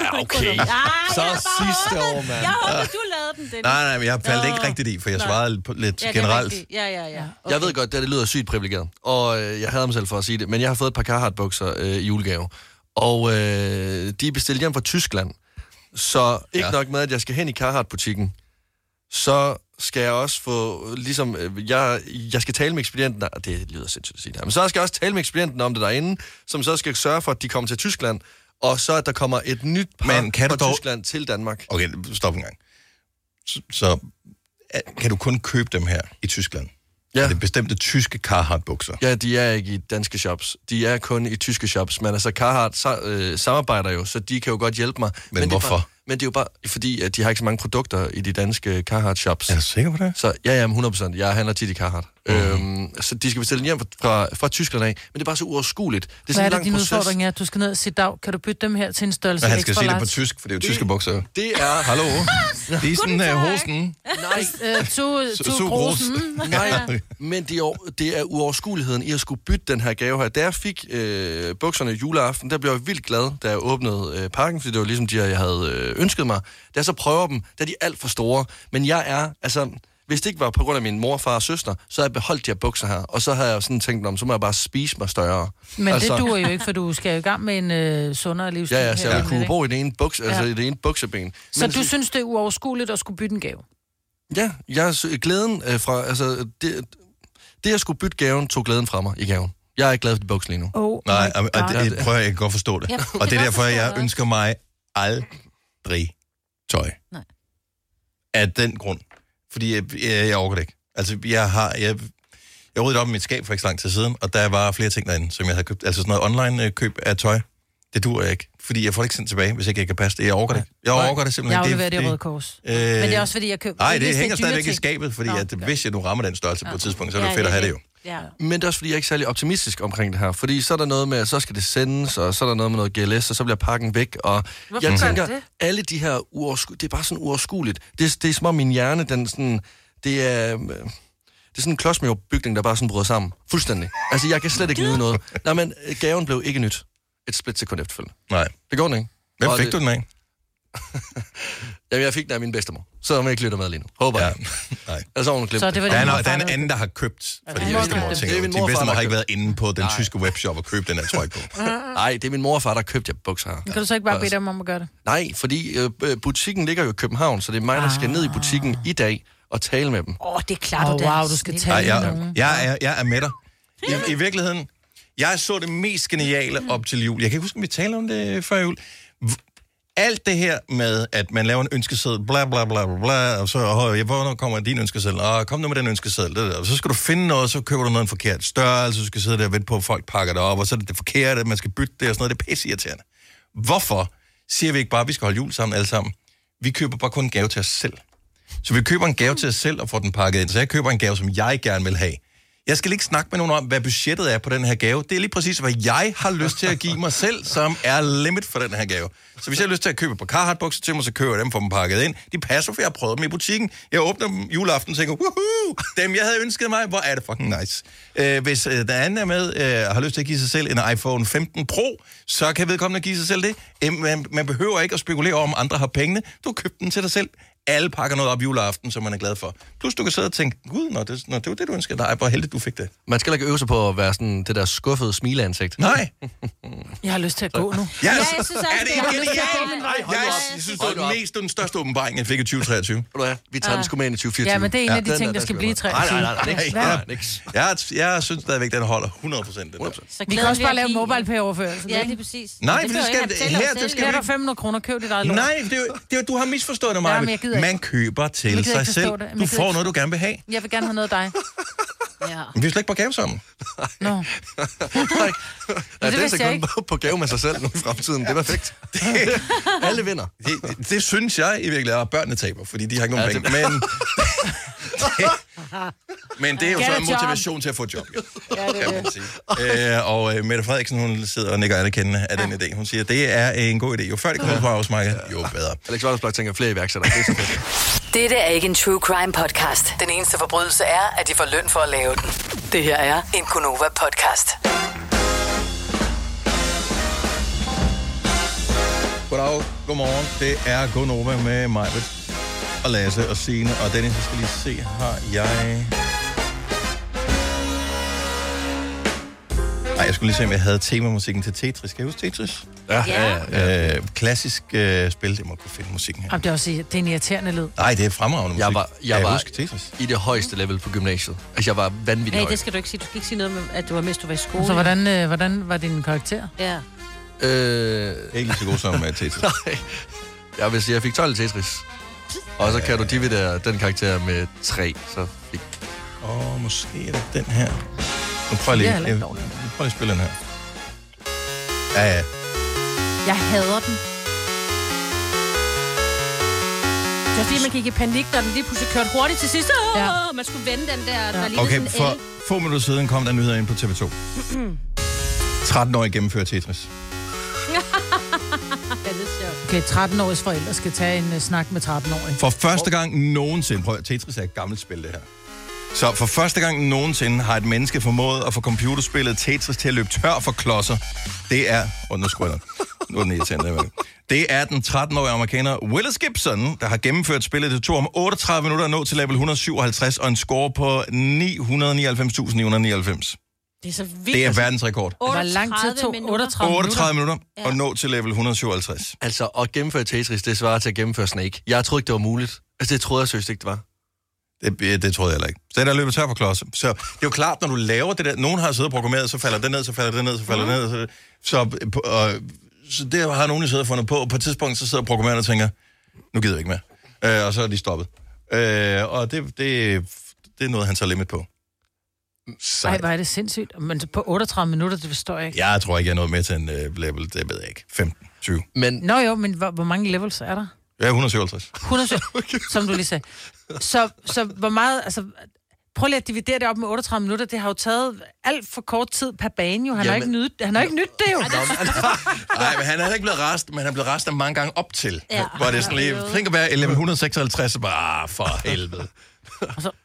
ja,
okay.
Ah,
Så
jeg bare
sidste
håbede-
år, mand.
Jeg håber, du lavede den, Dennis.
Nej, nej, men jeg faldt ikke rigtigt i, for jeg svarede på- lidt
Ja,
ja,
det er
generelt.
rigtigt. Ja, ja, ja.
Okay. Jeg ved godt, det, her, det lyder sygt privilegeret, og øh, jeg hader mig selv for at sige det, men jeg har fået et par Carhartt-bukser øh, i julegave, og øh, de er bestilt hjem fra Tyskland. Så ikke
Ja.
ja. nok med, at jeg skal hen i Carhartt-butikken, så skal jeg også få, ligesom, øh, jeg, jeg skal tale med ekspedienten, nej, det lyder sindssygt at sige det her, men så skal jeg også tale med ekspedienten om det derinde, som så skal sørge for, at de kommer til Tyskland, og så at der kommer et nyt par
Men kan du
fra
dog-
Tyskland til Danmark.
Okay, stop en gang. Så, så øh, kan du kun købe dem her i Tyskland? Ja.
Ja.
Det er bestemte tyske Carhartt-bukser.
Ja, de er ikke i danske shops. De er kun i tyske shops. Men altså, Carhartt sa- øh, samarbejder jo, så de kan jo godt hjælpe mig. Men, Det er bare,
hvorfor?
men det er jo bare fordi, at de har ikke så mange produkter i de danske Carhartt shops.
Er
Ja.
du sikker på det? Mhm.
Så ja, ja, men 100%. Jeg handler tit i Carhartt. Mm. Øhm, så de skal bestille den hjem fra, fra, fra Tyskland af. Men det er bare så uoverskueligt. Det er
Hvad er
sådan
det,
en
din
lang proces.
udfordring er? Du skal ned og sige, Dag, kan du bytte dem her til en størrelse
Men han
ekstra
skal sige det
large?
på tysk, for det er jo tyske bukser.
Det er...
Hallo? Det er sådan uh, hosen.
Nej,
Øh, to,
Så-
to
så groß.
großen.
Nej, men det er, jo- det er uoverskueligheden i at skulle bytte den her gave her. Da jeg fik øh, bukserne juleaften, der blev jeg vildt glad, da jeg åbnede øh, pakken, fordi det var ligesom de her, jeg havde øh, ønsket mig. Da jeg så prøver dem, der er de alt for store. Men jeg er, altså, hvis det ikke var på grund af min mor, far og søster, så havde jeg beholdt de her bukser her. Og så havde jeg sådan tænkt, om så må jeg bare spise mig større.
Men
altså,
det duer jo ikke, for du skal jo i gang med en øh, sundere livsstil.
Ja, ja, så jeg
her,
ville kunne
ikke?
bo i det ene, buks, altså,
Ja.
i det ene bukseben.
Så
Men
du synes, det er uoverskueligt at skulle bytte en gave?
Ja, jeg, s- glæden øh, fra, altså, det, det jeg skulle bytte gaven, tog glæden fra mig i gaven. Jeg er ikke glad for de bukser lige nu.
Oh
Nej, og, og
det,
det, prøv at jeg kan godt forstå det.
Jeg kan
Og det er
godt
derfor,
forstå
jeg
det.
ønsker mig aldrig tøj.
Nej.
Af den grund. Fordi jeg, jeg, jeg overgår det ikke. Altså, jeg har... Jeg, jeg ryddede op i mit skab for ikke så lang tid siden, og der var flere ting derinde, som jeg havde købt. Altså sådan noget online-køb af tøj. Det dur jeg ikke. Fordi jeg får det ikke sendt tilbage, hvis ikke jeg kan passe det. Jeg overgår det ikke. Jeg overgår det
jeg
simpelthen.
afleverer det i Røde Kors.
Øh,
Men det er også, fordi jeg køber...
Nej, det
hvis er
hænger
dyre
stadigvæk i
ting.
skabet, fordi
Nå,
at,
ja.
hvis jeg nu rammer den størrelse på et tidspunkt, så er det
Ja,
fedt at
det er
have det jo.
Ja.
Men det er også fordi, jeg er ikke særlig optimistisk omkring det her. Fordi så er der noget med, at så skal det sendes, og så er der noget med noget GLS, og så bliver pakken væk. Og
Hvorfor
jeg
gør den
tænker,
det?
alle de her uoversku... Det er bare sådan uoverskueligt. Det, er- det er som om min hjerne, den sådan... Det er... øh, Det er sådan en klodsmørbygning, der bare sådan bryder sammen. Fuldstændig. Altså, jeg kan slet ikke nyde noget. Nej, men øh, gaven blev ikke nyt. Et split sekund efterfølgende.
Nej.
Det går den ikke.
Hvem
Og
fik
det-
du den af?
Jamen, jeg fik den af min bedstemor. Så om jeg ikke lytter med lige nu. Håber ja. jeg.
Nej.
Altså, hun har glemt
Så det var
Der er,
din
no,
morfar,
der er en
der-
anden, der har købt,
Altså,
fordi
det
ja,
må
bedstemor
være.
tænker,
Det er min
din
morfar,
bedstemor
der
har ikke
har
været inde på den tyske webshop og købt den her trøje på.
Nej, det er min morfar, der har købt jer bukser her.
Kan du så ikke bare bede dem om at gøre det?
Nej, fordi øh, øh, butikken ligger jo i København, så det er mig, der skal ned i butikken i dag og tale med dem.
Åh, oh, det klarer
Ah. Åh,
du da.
wow, du skal
Nej,
tale med
jeg,
nogen.
jeg, er, jeg er med dig. I, I virkeligheden, jeg så det mest geniale op til jul. Jeg kan ikke huske, om vi talte om det før jul. V- Alt det her med, at man laver en ønskeseddel, bla bla bla bla, bla og så, åh, ja, hvornår kommer din ønskeseddel? Åh, kom nu med den ønskeseddel. Det der. Og så skal du finde noget, så køber du noget i en forkert størrelse, så skal du sidde der og vente på, at folk pakker det op, og så er det det forkerte, man skal bytte det og sådan noget. Det er pisse irriterende. Hvorfor siger vi ikke bare, at vi skal holde jul sammen alle sammen? Vi køber bare kun en gave til os selv. Så vi køber en gave til os selv og får den pakket ind. Så jeg køber en gave, som jeg gerne vil have. Jeg skal ikke snakke med nogen om, hvad budgettet er på den her gave. Det er lige præcis, hvad jeg har lyst til at give mig selv, som er limit for den her gave. Så hvis jeg har lyst til at købe et par Carhartt bukser til mig, så køber jeg dem, får dem pakket ind. De passer, for jeg har prøvet dem i butikken. Jeg åbner dem juleaften og tænker, woohoo, dem jeg havde ønsket mig, hvor er det fucking nice. Øh, hvis øh, den anden er med øh, og har lyst til at give sig selv en iPhone 15 Pro, så kan vedkommende give sig selv det. Øh, man, man behøver ikke at spekulere om, om andre har pengene. Du købte den til dig selv alle pakker noget op juleaften, som man er glad for. Plus du kan sidde og tænke, gud, nå, det, nå, det var det, du ønskede dig. Hvor heldigt, du fik det.
Man skal heller ikke øve sig på at være sådan det der skuffede smileansigt.
Nej.
Jeg har lyst til at gå nu.
Ja,
jeg synes også,
er det
det
ikke
er-
genialt?
Nej,
Jeg,
hold nu op.
jeg synes, det var
Hold nu
den
op.
mest, det var den største åbenbaring, jeg fik i 2023.
Ved du hvad, vi tager den sgu med ind i 2024.
Ja, men det er en af de
den
ting, der skal blive i
Nej, nej, nej,
23.
nej,
Ja.
nej, nej, niks.
Jeg, jeg synes stadigvæk, den holder 100 procent.
Så
Vi kan
glæder
også bare
at
lave
give-
mobile pay overførsel.
Ja, lige præcis.
Nej,
men
for det skal- her, det skal
Her er
vi-
der 500 kroner, køb dit eget lort.
Nej, det er, jo- det er, jo- du har misforstået det,
Ja,
Maja.
men jeg gider ikke.
Man køber
Jeg
til
gider
sig
ikke
selv.
forstå det. Men
Du
jeg gider
får
ikke-
noget, du gerne vil have.
Jeg vil gerne have noget af dig.
Ja.
Men Vi er slet ikke på gave sammen.
Nå.
nej.
det
Nej, det er
vidste jeg
så kun på gave med sig selv nu i fremtiden. Det er perfekt. Alle vinder.
Det, det, det synes jeg i virkeligheden, at børnene taber, fordi de har ikke nogen
Ja, det-
penge. Men, det, men det er jo
Get
så
a
en
job.
motivation til at få et job, jo, kan man sige. Øh, og øh, Mette Frederiksen, hun sidder og nikker anerkendende af den idé. Hun siger, det er en god idé. Jo før det kommer ud på arbejdsmarkedet, jo bedre.
Alex Vandersblok tænker flere iværksættere. Det er så fedt.
Dette er ikke en true crime podcast. Den eneste forbrydelse er, at de får løn for at lave den. Det her er en Gunova podcast.
Goddag, godmorgen. Det er Gonova med mig, og Lasse og Signe. Og Dennis, jeg skal lige se, har jeg... Ej, jeg skulle lige se, om jeg havde temamusikken til Tetris. Kan I huske Tetris?
Ja,
Ja.
ja, ja.
Øh, klassisk øh, spil, det må kunne finde musikken her.
Jamen, det er også det er en irriterende lyd.
Nej, det er fremragende musik.
Jeg var,
Kan
jeg var
huske Tetris.
i det højeste level på gymnasiet. Altså, jeg var vanvittig
Nej,
høj.
det skal du ikke sige. Du skal ikke sige noget med, at du var mest du var i skole.
Så hvordan, øh, hvordan var din karakter?
Ja.
Øh,
Ikke lige så god som uh, Tetris.
nej. Jeg vil sige, jeg fik 12 i Tetris. Og så kan du dividere den karakter med 3, så fik
Åh, oh, måske er det den her. Nu prøver jeg
Det er
lige,
heller
jeg,
ikke
prøver
dårligt.
lige at spille den her. Ja, ja.
Jeg hader den.
Det var fordi, man gik i panik, når den lige pludselig kørte hurtigt til sidst. Åh,
Ja.
ja. man skulle vende den der. Ja. Der
Okay, for få minutter siden kom der nyheder ind på TV2. 13-årige gennemfører Tetris.
Ja, det er sjovt.
Okay, 13-årige forældre skal tage en uh, snak med 13-årige.
For første gang nogensinde, prøv at- Tetris er et gammelt spil det her. Så for første gang nogensinde har et menneske formået at få computerspillet Tetris til at løbe tør for klodser. Det er... Åh, oh, nu skruer jeg ned. Nu er den irriterende. alligevel. Det er den 13-årige amerikaner Willis Gibson, der har gennemført spillet. Det tog om 38 minutter at nå til level 157 og en score på 999.999.
Det er så vildt.
Det er verdensrekord.
Hvor lang tid tog 38 minutter?
38 minutter og nå til level 157.
Altså, at gennemføre Tetris, det svarer til at gennemføre Snake. Jeg troede ikke, det var muligt. Altså, det troede jeg seriøst ikke, det var.
Det, ja, det troede jeg heller ikke. Så den er løbet tør for klodser. Så det er jo klart, når du laver det der, nogen har siddet og programmeret, så falder den ned, så falder den ned, så falder den ned. Så, så, øh, på- og, så det har nogen jo siddet og fundet på, og på et tidspunkt så sidder programmererne og tænker, nu gider jeg ikke mere. Øh, og så er de stoppet. Øh, og det, det, det er noget, han tager limit på.
Nej,
Så
hvor er det sindssygt. Men på 38 minutter, det forstår jeg ikke.
jeg tror ikke, jeg er nået med til en øh, level, det ved jeg ikke. 15, 20.
Men
Nå jo, men hvor, hvor mange levels er der?
Ja, 157.
100, som du lige sagde. Så, så hvor meget, altså, Prøv lige at dividere det op med 38 minutter. Det har jo taget alt for kort tid per bane, jo. Han har
Jamen-
ikke nydt, han har ikke nydt det, jo.
Nej, men han er ikke blevet rest, men han er blevet restet mange gange op til.
Ja.
Ja. Hvor det er sådan lige, flink at være 1156, bare ah, for helvede.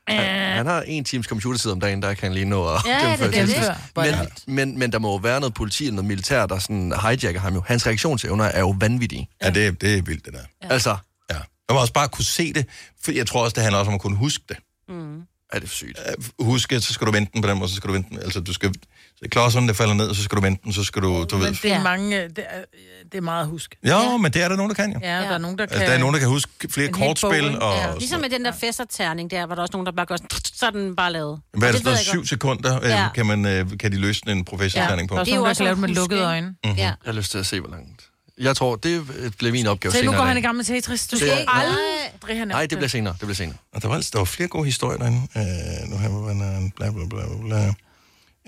Øh.
Han har en times computertid om dagen, der kan han lige nå at
Ja, det er
gennemføre
det,
sin
det
test.
er det.
Men, men, men der må jo være noget politi eller noget militær, der sådan hijacker ham jo. Hans reaktionsevner er jo vanvittige.
Ja, det, det er vildt, det der.
Ja. Altså.
Ja. Man må også bare kunne se det, for jeg tror også, det handler også om at kunne huske det. Øh,
Mm.
Er det for sygt?
Huske, så skal du vente den på den måde, så skal du vente den. Altså, du skal... Så klodserne, der falder ned, så skal du vente den, så skal du... du ved.
Men det er mange, øh, det er, øh, det er meget at huske.
Jo, ja. men det er der nogen, der kan jo.
Ja, der er nogen, der kan...
Altså, der er nogen, der kan huske flere
En hel bog,
kortspil,
ikke?
og...
Ja.
Ligesom med den der festerterning der, var der også nogen, der bare gør sådan, så er den bare lavet.
Hvad er det,
Og
sådan
ved
noget,
jeg
syv
godt.
sekunder, øh,
Ja.
kan, man, øh, kan de løsne en professionel ja. på?
Der er også nogen, der kan lave det med
at huske,
lukkede
ikke?
øjne.
Mhm.
Ja.
Jeg har lyst til at se, hvor langt. Jeg tror, det øh, bliver min opgave
Se, nu
senere.
går
i
han i
dag.
gang med Tetris. Du
Det-
skal
Nej.
aldrig have nævnt
Nej, det bliver senere. Det bliver senere.
Og der var, altså- der var flere gode historier derinde. Øh, nu har man en bla bla bla bla, bla.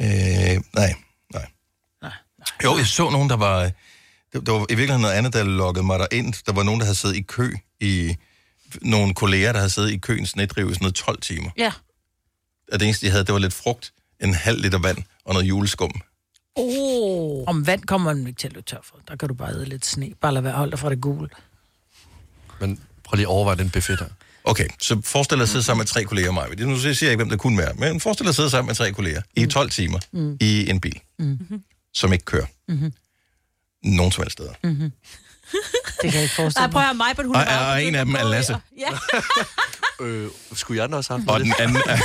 Øh, nej, nej. Jo, jeg så nogen, der var... øh, Der, der var i virkeligheden noget andet, der lokkede mig derind. Der var nogen, der havde siddet i kø i... Nogle kolleger, der havde siddet i køen snedrive i sådan noget 12 timer.
Ja.
Og det eneste, de havde, det var lidt frugt, en halv liter vand og noget juleskum.
Oh. Om vand kommer man ikke til at løbe tør for. Der kan du bare æde lidt sne. Bare lade være holdt fra det gule.
Men prøv lige at overveje den buffet der.
Okay, så forestil dig at sidde sammen med tre kolleger, Maja. Nu siger jeg ikke, hvem det kunne være, men forestil dig at sidde sammen med tre kolleger i 12 timer
Mm.
mm. i en bil,
Mm.
som ikke kører
Mm-hmm.
nogen som helst steder.
Mm-hmm. det kan jeg ikke forestille
Nej,
mig.
prøv at høre mig, på hun
Og,
er bare...
og en af dem er Lasse.
Ja.
Øh, skulle jeg den også have haft
Og den anden er...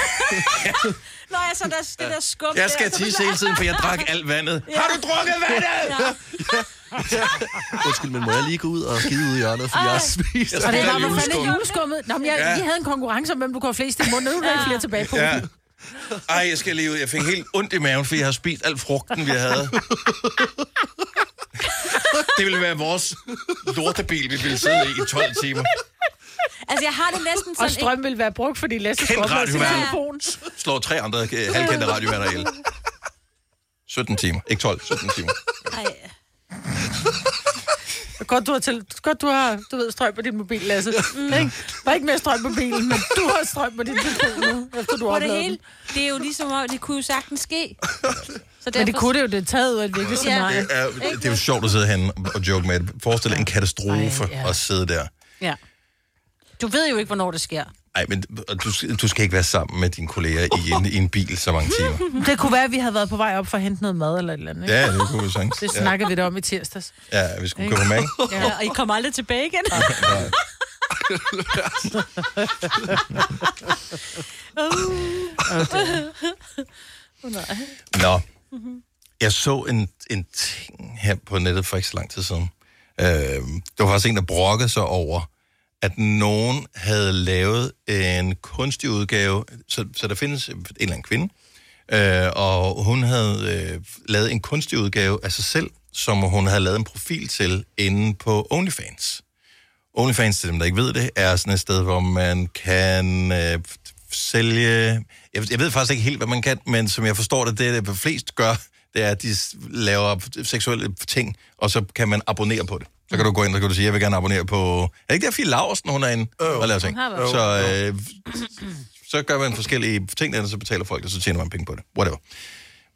Nå, ja, så der, det der skum
Jeg skal
der, så-
tisse hele tiden, for jeg drak alt vandet. Har du drukket vandet?
Ja.
Undskyld, men må jeg lige gå ud og skide ud i hjørnet, for jeg har spist.
Og det
Jeg
var,
skal
hvor fanden
have
er juleskummet? Nå, men jeg,
Ja.
vi havde en konkurrence om, hvem du kunne have flest i munden. Nu er der ikke flere tilbage på.
Ja. Ej, jeg skal lige ud. Jeg fik helt ondt i maven, fordi jeg har spist alt frugten, vi havde. Det ville være vores lortebil, vi ville sidde i i 12 timer.
Altså, jeg har det næsten sådan...
Og strøm ville være brugt, fordi Lasse skulle
Kendt
opnå sin
radiovært.
telefon.
Slår tre andre øh, halvkendte radioværter ihjel. 17 timer. Ikke 12, 17 timer.
Ej.
Godt, du har, til, godt, du har du ved, strøm på din mobil, Lasse. Mm. Ikke? Der er ikke mere strøm på bilen, men du har strøm på din telefon nu, efter du
Prøv
har
at det
opladet
hele.
den.
Det er jo ligesom om, det kunne jo sagtens ske. Så
Men det kunne det jo, det er taget ud af et
Ja.
virkelig scenarie.
Det er, øh, det er jo sjovt at sidde herinde og joke med det. Forestil dig en katastrofe
Ej, ja.
at sidde der.
Ja. Du ved jo ikke, hvornår det sker.
Ej, men du, du skal ikke være sammen med dine kolleger i en, i en bil så mange timer.
Det kunne være, at vi havde været på vej op for at hente noget mad eller et eller andet. Ikke?
Ja, det kunne vi sagtens.
Det snakkede ja. vi da om i tirsdags.
Ja, ja vi skulle købe mange.
Ja, og I kommer aldrig tilbage igen.
Nå. Jeg så en, en ting her på nettet for ikke så lang tid siden. Øh, der var faktisk en, der brokkede sig over, at nogen havde lavet en kunstig udgave. Så, så der findes en eller anden kvinde, øh, og hun havde øh, lavet en kunstig udgave af sig selv, som hun havde lavet en profil til inde på OnlyFans. OnlyFans, til dem der ikke ved det, er sådan et sted, hvor man kan øh, f- sælge... Jeg, jeg ved faktisk ikke helt, hvad man kan, men som jeg forstår det, det det flest gør, det er, at de s- laver seksuelle ting, og så kan man abonnere på det. Så kan du gå ind, og så kan du sige, jeg vil gerne abonnere på... Er det ikke der, Fie Laursen, hun er inde og laver ting?
Øh, Hun har været.
Så, øh, så gør man forskellige ting, og så betaler folk, og så tjener man penge på det. Whatever.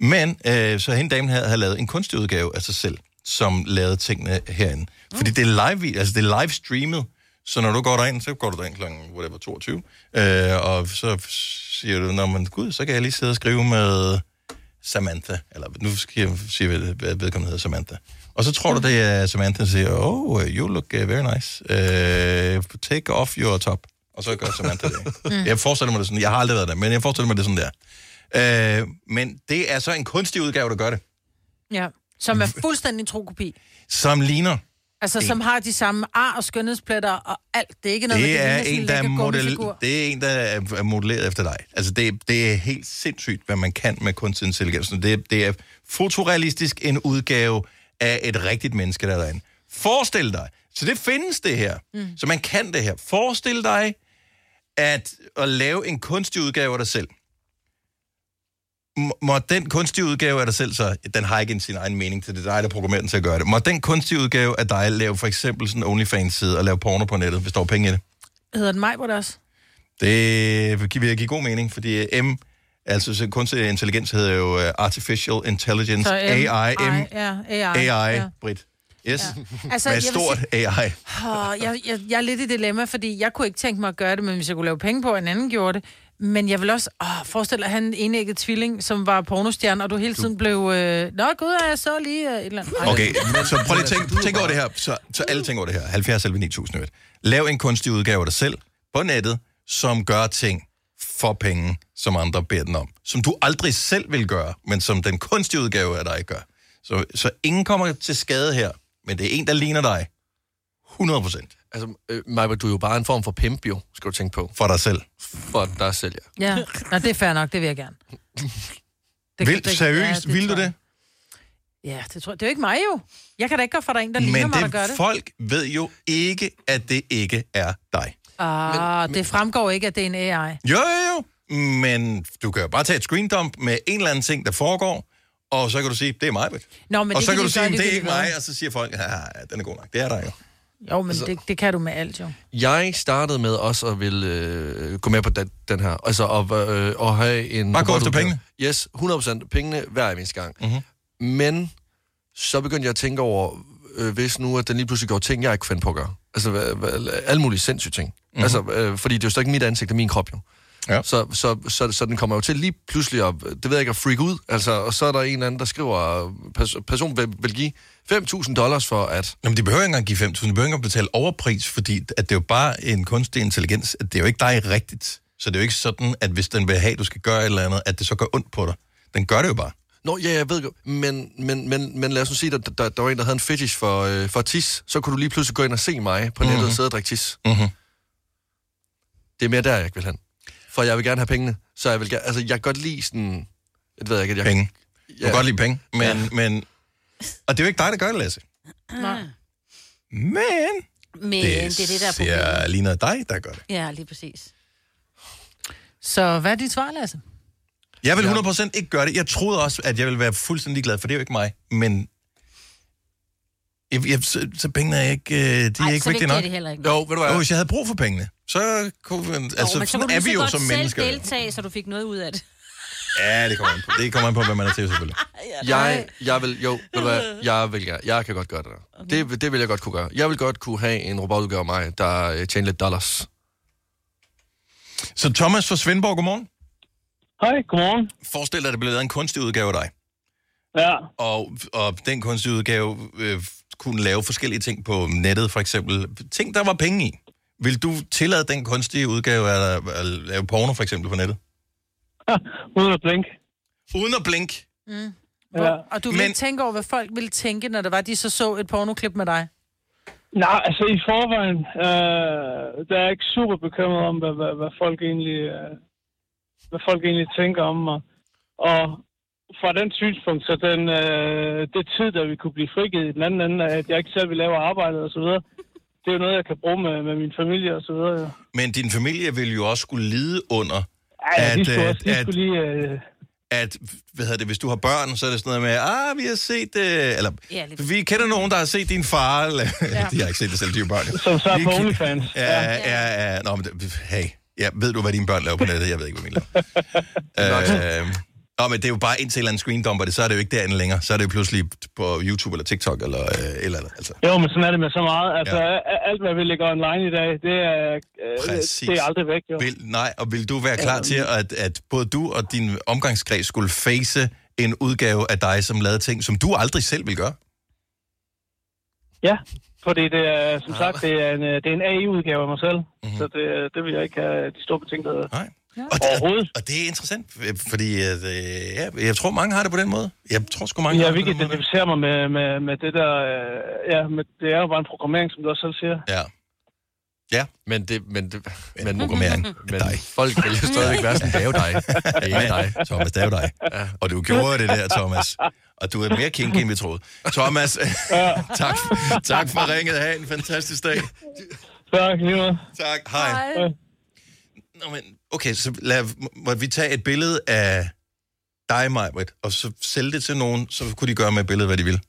Men øh, så hende damen her havde lavet en kunstig udgave af sig selv, som lavede tingene herinde. Fordi det er live, altså det er live streamet, så når du går derind, så går du derind kl. whatever, 22, øh, og så siger du, når man gud, så kan jeg lige sidde og skrive med Samantha, eller nu skal jeg sige, hvad hvad vedkommende hedder Samantha. Og så tror du, det er Samantha, der siger, oh, you look øh, very nice. Uh, take off your top. Og så gør Samantha det. Mm. Jeg forestiller mig det sådan, jeg har aldrig været der, men jeg forestiller mig det sådan der. Øh, men det er så en kunstig udgave, der gør det.
Ja. Som er fuldstændig trokopi.
Som ligner.
Altså, som har de samme ar og skønhedspletter og alt. Det er ikke noget,
Det
med,
er, en,
ligner sådan
der er
lækker
model,
gummifigur.
det er en, der er er modelleret efter dig. Altså, det, det er helt sindssygt, hvad man kan med kunstig intelligens. Så Det, det er fotorealistisk en udgave af et rigtigt menneske, der er derinde. Forestil dig. Så det findes det her. Mm. Så man kan det her. Forestil dig, at, at lave en kunstig udgave af dig selv. M- må den kunstige udgave af dig selv så, den har ikke en sin egen mening til det, det er dig, der programmerer den til at gøre det. Må den kunstige udgave af dig lave for eksempel sådan en OnlyFans-side og lave porno på nettet, hvis der er penge i det?
Hedder den Majbert også?
Det gi- vil give god mening, fordi M, altså så kunstig intelligens hedder jo øh, Artificial Intelligence,
Så M,
AI, M,
ja, AI.
AI,
ja.
Britt. Yes.
Ja.
Altså,
Altså,
Med
jeg
et
vil
stort AI.
Åh, jeg, jeg, jeg er lidt i dilemma, fordi jeg kunne ikke tænke mig at gøre det, men hvis jeg kunne lave penge på, at en anden gjorde det. Men jeg vil også... Åh, forestil dig, at han en enægget tvilling, som var pornostjerne, og du hele tiden blev... Øh, Nå, gud, jeg så lige øh, et eller andet. Ej,
Okay, så prøv lige at tænke, tænk over det her. Så, så alle tænker over det her. 70 11 9000 øvrigt. Lav en kunstig udgave af dig selv på nettet, som gør ting for penge, som andre beder den om. Som du aldrig selv vil gøre, men som den kunstige udgave af dig gør. Så, så ingen kommer til skade her, men det er en, der ligner dig. 100 procent.
Altså, øh, Majbert, du er jo bare en form for pimp, jo, skal du tænke på.
For dig selv.
For dig selv, ja.
Ja, Nå, det er fair nok, det vil jeg gerne. Det,
Vil, seriøst, vil du
tror jeg.
det?
Ja, det tror jeg. Det er jo ikke mig jo. Jeg kan da ikke gøre for, at der er en, der ligner
Men
mig, der gør
det,
det.
folk ved jo ikke, at det ikke er dig.
Ah, det fremgår ikke, at det er en AI.
Jo, jo, jo. Men du kan jo bare tage et screendump med en eller anden ting, der foregår, og så kan du sige, det er mig.
Nå, men
og
det
så
kan
kan
de
du sige,
gøre,
det,
det
det er
kan
ikke
de gøre."
mig, og så siger folk, ja, ja, den er god nok, det er der jo.
Jo,
Altså-
men det, det kan du med alt jo.
Jeg startede med også at ville øh, gå med på den, den her. Altså, og, øh, og have en...
Bare gå efter
robotudgave.
pengene?
Yes, 100% pengene hver eneste gang.
Mhm.
Mm-hmm. Men så begyndte jeg at tænke over, øh, hvis nu, at den lige pludselig går ting, jeg ikke fandt på at gøre. Altså, hva, hva, alle mulige sindssyge ting. Mm-hmm. Altså, øh, fordi det er jo stadig mit ansigt og min krop, jo.
Mhm. Ja.
Så, så, så, så den kommer jo til lige pludselig at, det ved jeg ikke, at freak ud. Altså, og så er der en eller anden, der skriver, pers- person vil, vil give 5.000 dollars for at...
Nå, men de behøver ikke engang give 5.000, de behøver ikke engang betale overpris, fordi at det er jo bare en kunstig intelligens, at det er jo ikke dig rigtigt. Så det er jo ikke sådan, at hvis den vil have, at du skal gøre et eller andet, at det så gør ondt på dig. Den gør det jo bare.
Nå, ja, jeg ved godt, men, men, men, men lad os nu sige, at der, der, der var en, der havde en fetish for, øh, for tis, så kunne du lige pludselig gå ind og se mig på nettet mm-hmm. og sidde og drikke tis.
Mhm.
Det er mere der, jeg ikke vil hen. For jeg vil gerne have pengene, så jeg vil gerne, altså jeg kan godt lide sådan, jeg ved ikke, at jeg...
Penge. Du
Ja.
kan godt lide penge, men, ja. men... Og det er jo ikke dig, der gør det, Lasse.
Nej.
Men...
Men det, det er det, der er problemet.
ser- ligner dig, der gør det.
Ja, lige præcis.
Så hvad er dit svar, Lasse?
Jeg vil 100% ikke gøre det. Jeg troede også, at jeg ville være fuldstændig glad, for det er jo ikke mig. Men jeg, jeg, så, så pengene er ikke, øh, de er
Ej,
ikke
så
vigtige
vigtigt
nok.
er det heller ikke.
Jo, ved du
Og
hvad?
hvis jeg havde brug for pengene, så kunne man, altså,
men
jo, sådan
kunne
er
du
vi
så
jo
godt
som
selv
mennesker. jo.
deltage, så du fik noget ud af det.
Ja, det kommer an på. Det kommer an på, hvad man er til, selvfølgelig.
Jeg, jeg vil, jo, ved du hvad, jeg vil gerne, jeg kan godt gøre det der. Det, det vil jeg godt kunne gøre. Jeg vil godt kunne have en robotudgave af mig, der øh, tjener lidt dollars.
Så Thomas fra Svendborg, godmorgen.
Hej, godmorgen.
Forestil dig, at det bliver lavet en kunstig udgave af dig.
Ja,
Og, og den kunstige udgave øh, kunne lave forskellige ting på nettet, for eksempel. Ting, der var penge i. Vil du tillade den kunstige udgave af dig at lave porno, for eksempel, på nettet?
uden at blinke.
Uden at blinke.
Hvor, ja. Og du vil
Men-
men... ikke tænke over, hvad folk ville tænke, når det var, de så så et pornoklip med dig.
Nej, altså i forvejen, øh, der er jeg ikke super bekymret om, hvad, hvad, hvad, folk egentlig, øh, hvad folk egentlig tænker om mig. Og fra den synspunkt, så den, øh, det tid, der vi kunne blive frigivet i den anden ende, at jeg ikke selv vil lave arbejdet og så videre, det er jo noget, jeg kan bruge med, med min familie og så videre. jo.
Men din familie vil jo også skulle lide under,
Ej, at, de
At,
skulle
øh,
også, de
at-
skulle lige... Øh,
at hvad hedder det, hvis du har børn, så er det sådan noget med, ah, vi har set, øh, eller
Ja, lige
vi kender nogen, der har set din far, eller, ja. de har ikke set det selv, de er jo børn. jo.
som så er
Vi
på
kan-
OnlyFans.
Ja, ja, ja. Nå, men det- hey, ja, ved du, hvad dine børn laver på nettet? Jeg ved ikke, hvad mine laver. øh, Nå, men det er jo bare indtil en eller anden screendumper det, så er det jo ikke derinde længere. Så er det jo pludselig på YouTube eller TikTok eller øh, et eller andet. Altså.
Jo, men sådan er det med så meget. Altså,
Ja.
ja. alt, hvad vi lægger online i dag, det er, øh,
Præcis.
det er aldrig væk, jo.
Vil, nej, og vil du være klar til, at, at både du og din omgangskreds skulle face en udgave af dig, som lavede ting, som du aldrig selv vil gøre?
Ja, fordi det er,
Ah.
som sagt, det er en, øh, det er en AI-udgave af mig selv, mm-hmm. så det, øh, det vil jeg ikke have de store betingelser
Mhm. Nej. Og, det,
overhovedet.
og det er interessant, øh, fordi at, øh, ja, jeg tror, mange har det på den måde. Jeg tror sgu, mange
Jeg
har
vil
det på
ikke
den måde.
identificere mig med, med, med det der, øh, ja, med, det er jo bare en programmering, som du også selv siger.
Ja,
Men det, men det, men,
men programmering er
men
dig.
folk vil jo stadigvæk være sådan, det er jo dig. Det er dig.
Thomas, det er jo dig. Og du gjorde det der, Thomas. Og du er mere kinky, end vi troede. Thomas, tak, tak for ringet. Ha' en fantastisk dag.
Tak, lige meget.
Tak. Hej. Nå, men, okay, så lad, må, må vi tage et billede af dig, Majbrit, og så sælge det til nogen, så kunne de gøre med billedet, hvad de vil.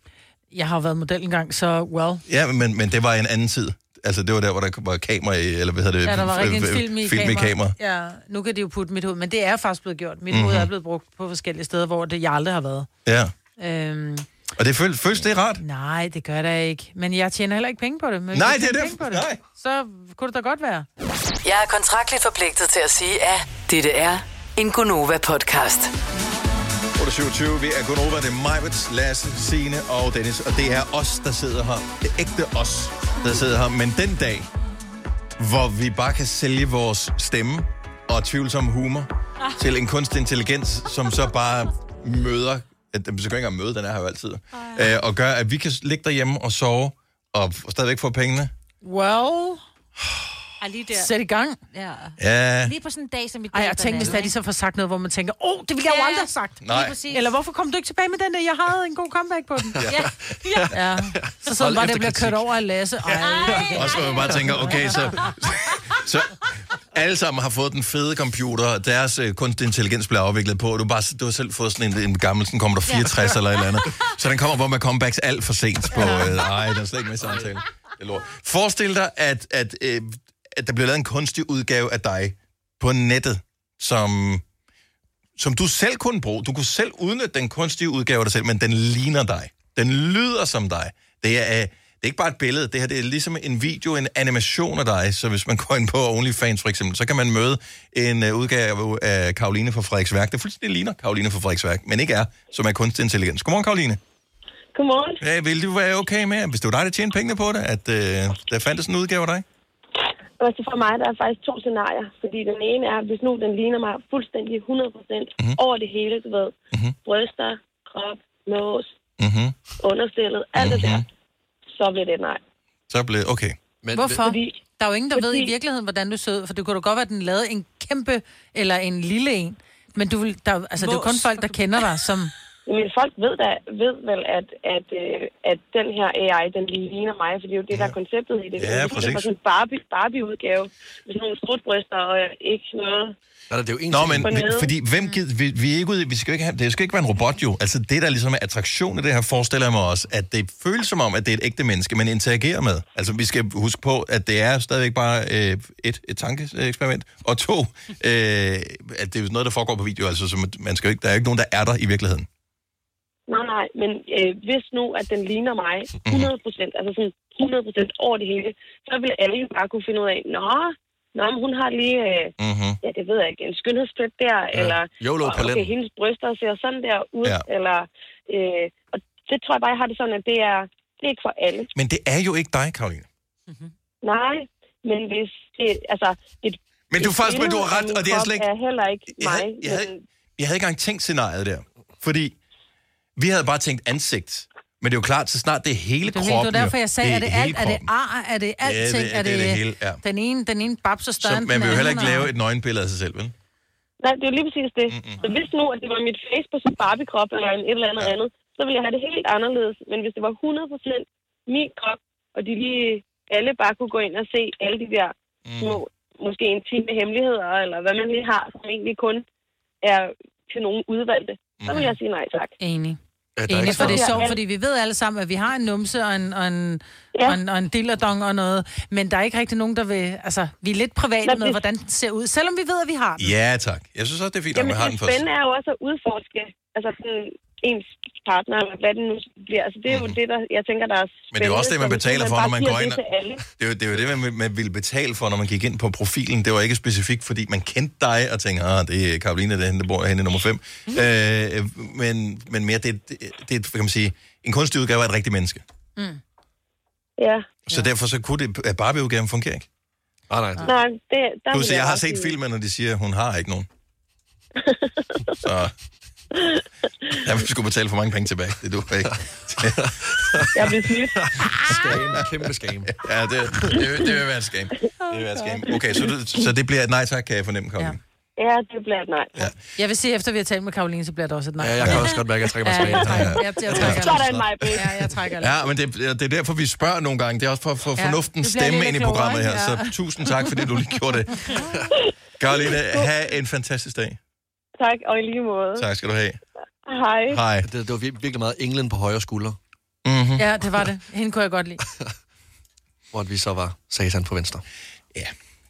Jeg har jo været model engang, så well.
Ja, men, men det var i en anden tid. altså det var der, hvor der var kamera i, eller hvad hedder det?
Ja, der var
Øh,
rigtig en
øh,
film i,
film i kamera.
Ja, nu kan de jo putte mit hoved, men det er faktisk blevet gjort. Mit
Mhm.
mm-hmm. hoved er blevet brugt på forskellige steder, hvor det, jeg aldrig har været.
Ja,
Øhm,
og det føles, føles det rart?
nej, det gør der ikke. Men jeg tjener heller ikke penge på det. Men hvis
Nej,
jeg
det er
tjener
det.
penge På det. Så kunne det da godt være.
Jeg er kontraktligt forpligtet til at sige, at dette er en Gunova-podcast.
8.27, vi er kun over det er Majvits, Lasse, Signe og Dennis, og det er os, der sidder her. Det er ægte os, der sidder her. Men den dag, hvor vi bare kan sælge vores stemme og tvivlsom humor til en kunstig intelligens, som så bare møder, at den så kan ikke engang møde, den er her jo altid, øh, og gør, at vi kan ligge derhjemme og sove og stadigvæk få pengene.
Well...
Ej, lige der.
Sæt i gang.
Ja.
Ja.
Lige på sådan en dag, som i dag.
Ej, og tænk, hvis der lige så får sagt noget, hvor man tænker, åh, oh, det ville jeg jo
Ja.
aldrig have sagt.
Nej. Lige præcis.
Eller hvorfor kom du ikke tilbage med den der? Jeg havde en god comeback på den.
Ja.
ja. ja. Så sådan
Hold
bare, det bliver
efterkritik.
kørt over af Lasse. Ej,
Og så man bare tænker, okay, så, så alle sammen har fået den fede computer, og deres øh, kunstig intelligens bliver afviklet på, og du, har bare, du har selv fået sådan en, en gammel, sådan kommer der 64 eller et eller andet. Så den kommer, hvor man comebacks alt for sent på. Øh, ej, den er slet ikke med i samtalen. Det er lort. Forestil dig, at, at, øh, at der bliver lavet en kunstig udgave af dig på nettet, som, som du selv kunne bruge. Du kunne selv udnytte den kunstige udgave af dig selv, men den ligner dig. Den lyder som dig. Det er, øh, det er ikke bare et billede, det her det er ligesom en video, en animation af dig. Så hvis man går ind på OnlyFans for eksempel, så kan man møde en øh, udgave af Karoline fra Frederiksværk. Det fuldstændig ligner Karoline fra Frederiksværk, men ikke er, som er kunstig intelligens. Godmorgen, Karoline.
Godmorgen.
Ja, ville du være okay med, hvis det var dig, der tjente pengene på det, at øh, der fandtes en udgave af dig?
Altså for mig, der er faktisk to scenarier. Fordi den ene er, hvis nu den ligner mig fuldstændig 100%
Mhm.
mm-hmm. over det hele, du ved. Mm-hmm. Bryster, krop, nås,
Mhm.
Mm-hmm.
understillet, alt mm-hmm. det der. Så bliver det et nej.
Mhm. Så blev okay. Men,
Hvorfor?
Fordi-
der er jo ingen, der ved i
fordi-
virkeligheden, hvordan du ser ud, for det kunne da godt være, at den lavede en kæmpe eller en lille en. Men du vil, der, altså, det er jo kun
Mås.
folk, der kender dig, som...
Men folk ved, da, ved vel, at, at, øh, at den her AI, den ligner mig, fordi det er jo det, der er konceptet i det.
Ja,
det er
præcis.
sådan en Barbie, Barbie-udgave med sådan nogle strutbryster og ikke noget.
Nej, det er jo en
Nå, men
På
vi-
nettet.
fordi hvem gider, vi, vi er ikke ude, vi skal jo ikke have, det skal ikke være en robot jo. Altså det, der ligesom er attraktion i det her, forestiller jeg mig også, at det føles som om, at det er et ægte menneske, man interagerer med. Altså vi skal huske på, at det er stadigvæk bare øh, et, et tankeeksperiment, og to, øh, at det er jo noget, der foregår på video, altså så man- man skal jo ikke, der er jo ikke nogen, der er der i virkeligheden.
Nej, nej, men øh, hvis nu, at den ligner mig 100%, altså sådan 100% over det hele, så vil alle jo bare kunne finde ud af, nå, nå men hun har lige, øh,
mm-hmm.
ja, det ved jeg ikke, en skønhedsplet der, ja. eller
YOLO
og,
på
okay,
lænden.
hendes bryster ser sådan der ud,
Ja.
ja. eller, øh, og det tror jeg bare, jeg har det sådan, at det er, det er ikke for alle.
Men det er jo ikke dig, Karoline.
Nej, men hvis det, altså... Et,
Men du er faktisk- men du har ret, og det er slet ikke-
er heller ikke
Jeg
mig.
havde, jeg,
men-
havde, jeg havde ikke engang tænkt scenariet der, fordi vi havde bare tænkt ansigt. Men det er jo klart, så snart det er hele
Det er,
kroppen.
vildt, det var derfor,
jo.
jeg sagde, er det,
hele
alt, er det
kroppen.
ar, er det
Ja, det-
alting,
det er det hele, ja.
den ene, den ene babser større
Så
end
man
den
vil jo heller ikke
anden, og-
lave et nøgenbillede af sig selv, vel?
Nej, det er jo lige præcis det. Mm-mm. Så hvis nu, at det var mit face på sin Barbie-krop eller en et eller andet ja. andet, så ville jeg have det helt anderledes. Men hvis det var 100% min krop, og de lige alle bare kunne gå ind og se alle de der
Mm.
små, måske intime hemmeligheder, eller hvad man lige har, som egentlig kun er til nogen udvalgte, så
Mm.
vil jeg sige nej tak.
Enig.
Ja,
der er
Enig,
ikke
for det er
så-
sjovt, fordi vi ved alle sammen, at vi har en numse og en, og en,
ja.
og en, og en dillerdong og noget, men der er ikke rigtig nogen, der vil... Altså, vi er lidt private
Men
med,
det-
hvordan den ser ud, selvom vi ved, at vi har den.
Ja, tak. Jeg synes også, det er fint, at man har den
det
først.
spændende er jo også at udforske altså sådan, ens partner, eller hvad det nu bliver. Altså, det er jo det, der, jeg tænker, der er spændende.
Mm. Men det er jo også det, man
så hvis
betaler for,
bare
når man
giver
går
det
ind og-
til alle.
Det er jo det, er jo det man, man ville betale for, når man gik ind på profilen. Det var ikke specifikt, fordi man kendte dig og tænkte, ah, det er Karoline, der er hende, der bor henne i nummer 5.
Mhm.
Mm. Øh, men, men mere, det, det, det er, hvad kan man sige, en kunstig udgave af et rigtigt menneske.
Ja.
Så ja. derfor så kunne det, at Barbie-udgaven fungerer ikke. Ah, nej.
Nej, det, der
Du
vil
siger, jeg har
bare
set
sige-
filmen, og de siger, hun har ikke nogen. så jeg vil skulle betale for mange penge tilbage. Det du ikke.
jeg bliver snydt.
Scam, kæmpe scam.
Ja, det, det, vil- det vil være et skam. Det vil være et skam. Okay, så, det- så det bliver et nej tak, kan jeg fornemme, Karoline.
Ja, det bliver et nej.
Ja.
Jeg vil sige, efter vi har talt med Karoline, så bliver det også et nej.
Ja, jeg kan også godt mærke, at jeg trækker mig tilbage.
Ja, jeg trækker, jeg, jeg trækker
Sådan, mig,
Ja, jeg trækker lidt.
Ja, men det, det er derfor, vi spørger nogle gange. Det er også for at få
Ja,
fornuftens
det bliver
stemme
lidt
ind i
klogere,
programmet her.
ikke?
Så
Ja.
tusind tak, fordi du lige gjorde det. Karoline, have en fantastisk dag.
Tak, og i lige måde.
Tak skal du have.
Hej.
Hej.
Det, det var vir- virkelig meget englen på højre skulder.
Mm-hmm.
Ja, det var det. Hende kunne jeg godt lide.
Hvor vi så var satan på venstre.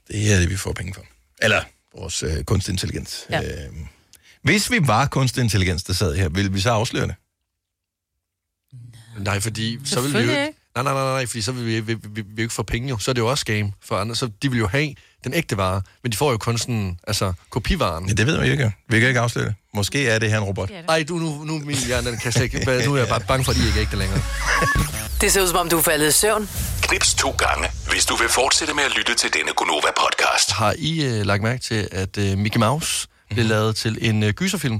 Det er det, vi får penge for. Eller vores øh, kunstig intelligens.
Ja.
Ja. Øh, hvis vi var kunstig intelligens, der sad her, ville vi så afsløre det?
Nej, fordi så vil vi jo
Selvfølgelig
ikke...
ikke.
Nej, nej, nej, nej, fordi så vil vi, vi, vi, vi jo ikke få penge jo. Så er det jo også game for andre. Så de vil jo have den ægte vare, men de får jo kun sådan, altså, kopivaren.
Ja, det ved vi jo ikke. Vi kan ikke afsløre det. Måske er det her en robot.
Nej, du, nu, nu er min hjerne, den kan slet ikke, nu er jeg bare bange for, at I ikke er ægte længere.
Det ser ud som om, du er faldet i søvn.
Knips to gange, hvis du vil fortsætte med at lytte til denne Gonova-podcast.
Har I øh, lagt mærke til, at øh, Mickey Mouse blev lavet til en øh, gyserfilm?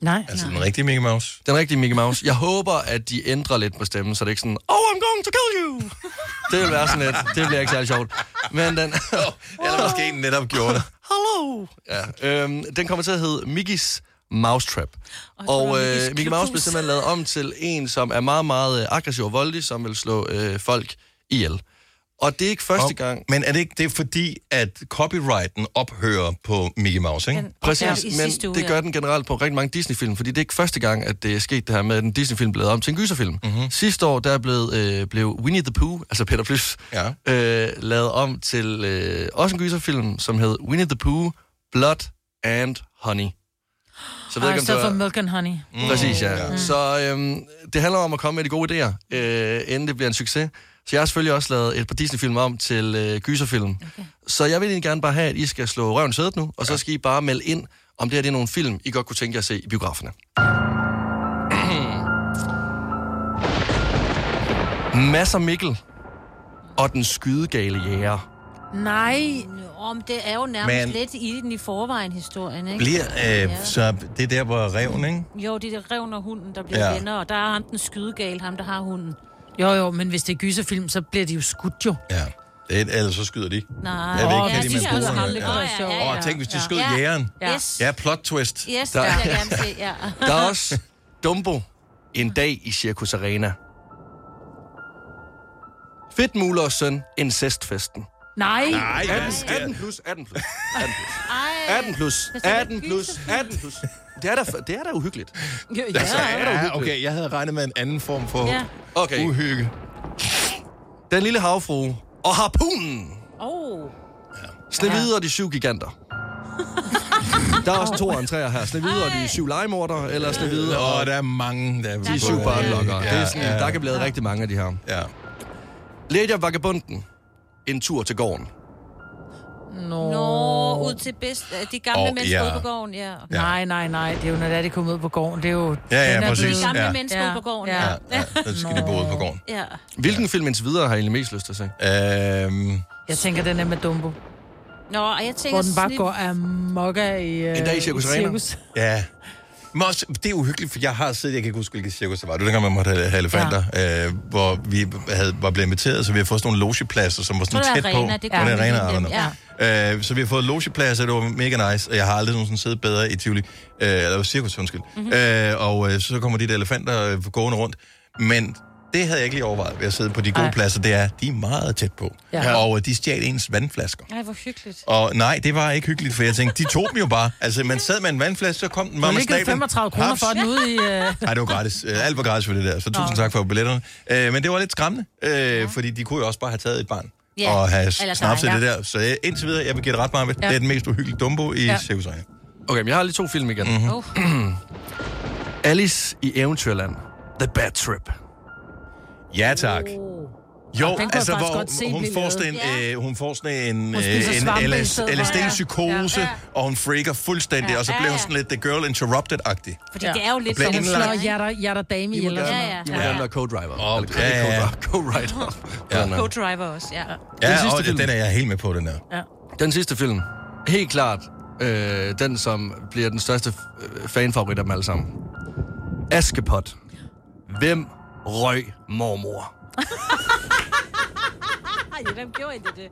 Nej.
Mhm. Altså den rigtige Mickey Mouse?
Den rigtige Mickey Mouse. Jeg håber, at de ændrer lidt på stemmen, så det ikke sådan, oh, I'm going to kill you! Det vil være sådan lidt, det bliver ikke særlig sjovt. Men den...
Eller måske en netop gjorde det.
Hello! Ja, øhm, den kommer til at hedde Mickeys Mousetrap. Og øh, Mickey Mouse blev simpelthen lavet om til en, som er meget, meget øh, aggressiv og voldelig, som vil slå øh, folk ihjel. Og det er ikke første
Og-
gang...
Men er det ikke det er fordi, at copyrighten ophører på Mickey Mouse, ikke?
Præcis,
Ja,
ja,
i
men
sidste uge,
det
ja.
gør den generelt på rigtig mange Disney-film, fordi det er ikke første gang, at det er sket det her med, at en Disney-film blev lavet om til en gyserfilm. Mm-hmm. Sidste år, der blev, øh, blev Winnie the Pooh, altså Peter Plys,
ja.
øh, lavet om til øh, også en gyserfilm, som hed Winnie the Pooh, Blood and Honey. Så
og i stedet for milk and honey.
Mm. Præcis, ja. Mm. Så øhm, det handler om at komme med de gode idéer, øh, inden det bliver en succes. Så jeg har selvfølgelig også lavet et par Disney-film om til øh, gyserfilm. Okay. Så jeg vil egentlig gerne bare have, at I skal slå røven i sædet nu, og så skal I bare melde ind, om det her det er nogle film, I godt kunne tænke jer at se i biograferne. Masser Mikkel og den skydegale jæger.
Nej. Nå, men det er jo nærmest
Men-
men... lidt i den i forvejen, historien, ikke?
Bliver, øh, så det er der, hvor reven, ikke?
Jo, det er det revn og hunden, der bliver
Ja.
ja. venner, og der er ham den skydegal, ham der har hunden.
Jo, jo, men hvis det er gyserfilm, så bliver de jo skudt jo.
Ja. Det er, ellers så skyder de.
Nej.
Jeg ved
Åh,
ikke, kan
hvis
de
de
med
skyder ham,
buerne.
det
Ja.
kunne være sjovt.
Åh,
Ja,
tænk, hvis de
ja.
skød
Ja.
jægeren.
Yes.
Ja, plot twist.
Yes,
Der-
der. det vil jeg gerne se, ja.
Der er også Dumbo, en dag i Circus Arena. Fedtmulers søn, incestfesten.
Nej.
Nej, 18, 18 plus, 18 plus, 18 plus. 18 plus, 18 plus, 18 plus. Det er da, det er da uhyggeligt.
Ja,
ja. Altså, er der
ja,
uhyggeligt?
okay, jeg havde regnet med en anden form for
Ja.
ja.
Okay.
uhygge.
Den lille havfru og harpunen.
Åh. Oh.
Snevide og de syv giganter. Der er også to og en treer her. Snevide og de syv legemorder, eller Snevide og...
Og der er mange, der...
De er syv barnlokkere. Ja, ja, ja. Der kan blive lavet rigtig mange af de her.
Ja.
Lady og Vagabunden. En tur til gården.
Nå.
Nå, ud til bedst, de gamle
Åh,
oh, mennesker
ja.
ja. ude på gården, ja.
Nej, nej, nej. Det er jo, når det er, de kommer ud på gården. Det er jo...
ja,
den er
præcis.
blevet-
Gamle
Ja.
ja. mennesker ja. ude på gården, ja.
Ja, ja, så skal de bo ude på gården.
Ja.
Hvilken ja. film indtil videre har I egentlig mest lyst til at se?
Øhm,
Jeg tænker, den er med Dumbo.
Nå, og jeg tænker...
Hvor den bare
snit-
går af mokka i... øh,
En dag i Cirkus Arena. Ja. Men også, det er uhyggeligt, for jeg har siddet, jeg kan ikke huske, hvilket cirkus det var. Det var dengang, man måtte have have elefanter, ja. øh, hvor vi havde, var blevet inviteret, så vi har fået sådan nogle logepladser, som var sådan
Så er
tæt
der
på.
arena, det
Hvor
gør
er
vi
arena,
lige
I don't
nemt,
know. Øh, så vi har fået logepladser, det var mega nice, og jeg har aldrig nogensinde siddet bedre i Tivoli, øh, eller cirkus, undskyld.
Mhm.
Mm-hmm. Øh, og øh, så kommer de der elefanter øh, gående rundt, men det havde jeg ikke lige overvejet ved at sidde på de gode Ej. pladser, det er, de er meget tæt på.
Ja.
Ja. Og øh, de stjal ens vandflasker.
Ej, hvor hyggeligt.
Og nej, det var ikke hyggeligt, for jeg tænkte, de tog dem jo bare. Altså, man sad med en vandflaske, så kom den
Du
bare
har
med
lige givet
snablen.
35 kroner
Haps.
for den ude i... øh,
Nej, det var gratis. Øh, Alt var gratis for det der, så
Nå.
tusind tak for billetterne. Øh, Men det var lidt skræmmende, øh, fordi de kunne jo også bare have taget et barn.
Ja,
og have
eller dig,
snapset
ja.
det der. Så øh, indtil videre, jeg vil give det ret meget med.
Ja.
Det er den mest uhyggelige dumbo i
Ja.
ja. Cirkus Arena.
Okay, men jeg har lige to film igen.
Mhm.
Mm-hmm. Alice i Eventyrland. The Bad Trip.
Ja, tak. Jo,
Og den kunne
altså,
jeg faktisk
hvor
godt se
hun
blive
får,
lavet.
sådan en, øh, hun får sådan en,
Hun spiser
øh,
svampe i
en
stedet for.
LSD-psykose,
Ja,
ja.
ja.
ja. og hun freaker fuldstændig,
Ja.
ja. og så
Ja,
bliver
ja.
hun sådan lidt The Girl Interrupted-agtig.
Fordi det er jo lidt
Blev
som hun
indlagt.
slår jatter, jatter dame i eller sådan noget.
I må gerne være co-driver.
Åh,
Eller
ja, ja, ja.
Co-writer.
Ja.
Co-driver også, ja.
Den
Ja,
sidste
og
film.
den er jeg helt med på, den der.
ja.
Den sidste film. Helt klart øh, den, som bliver den største øh, fanfavorit af dem alle sammen. Askepot. Hvem røg mormor?
Ej, hvem gjorde I det? det?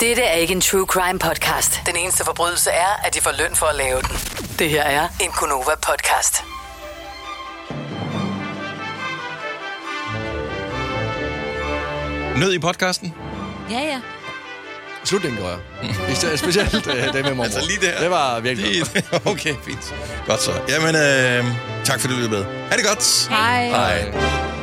Dette er ikke en true crime podcast. Den eneste forbrydelse er, at de får løn for at lave den. Det her er en Gunova-podcast.
Nød i podcasten?
Ja, ja.
Slutningen gør jeg. Især- Specielt øh, det med mormor.
Altså lige der.
Det var virkelig
Lige, okay, fint. Godt så. Jamen, øh, tak fordi du lyttede med. Ha' det godt.
Hej.
Hej.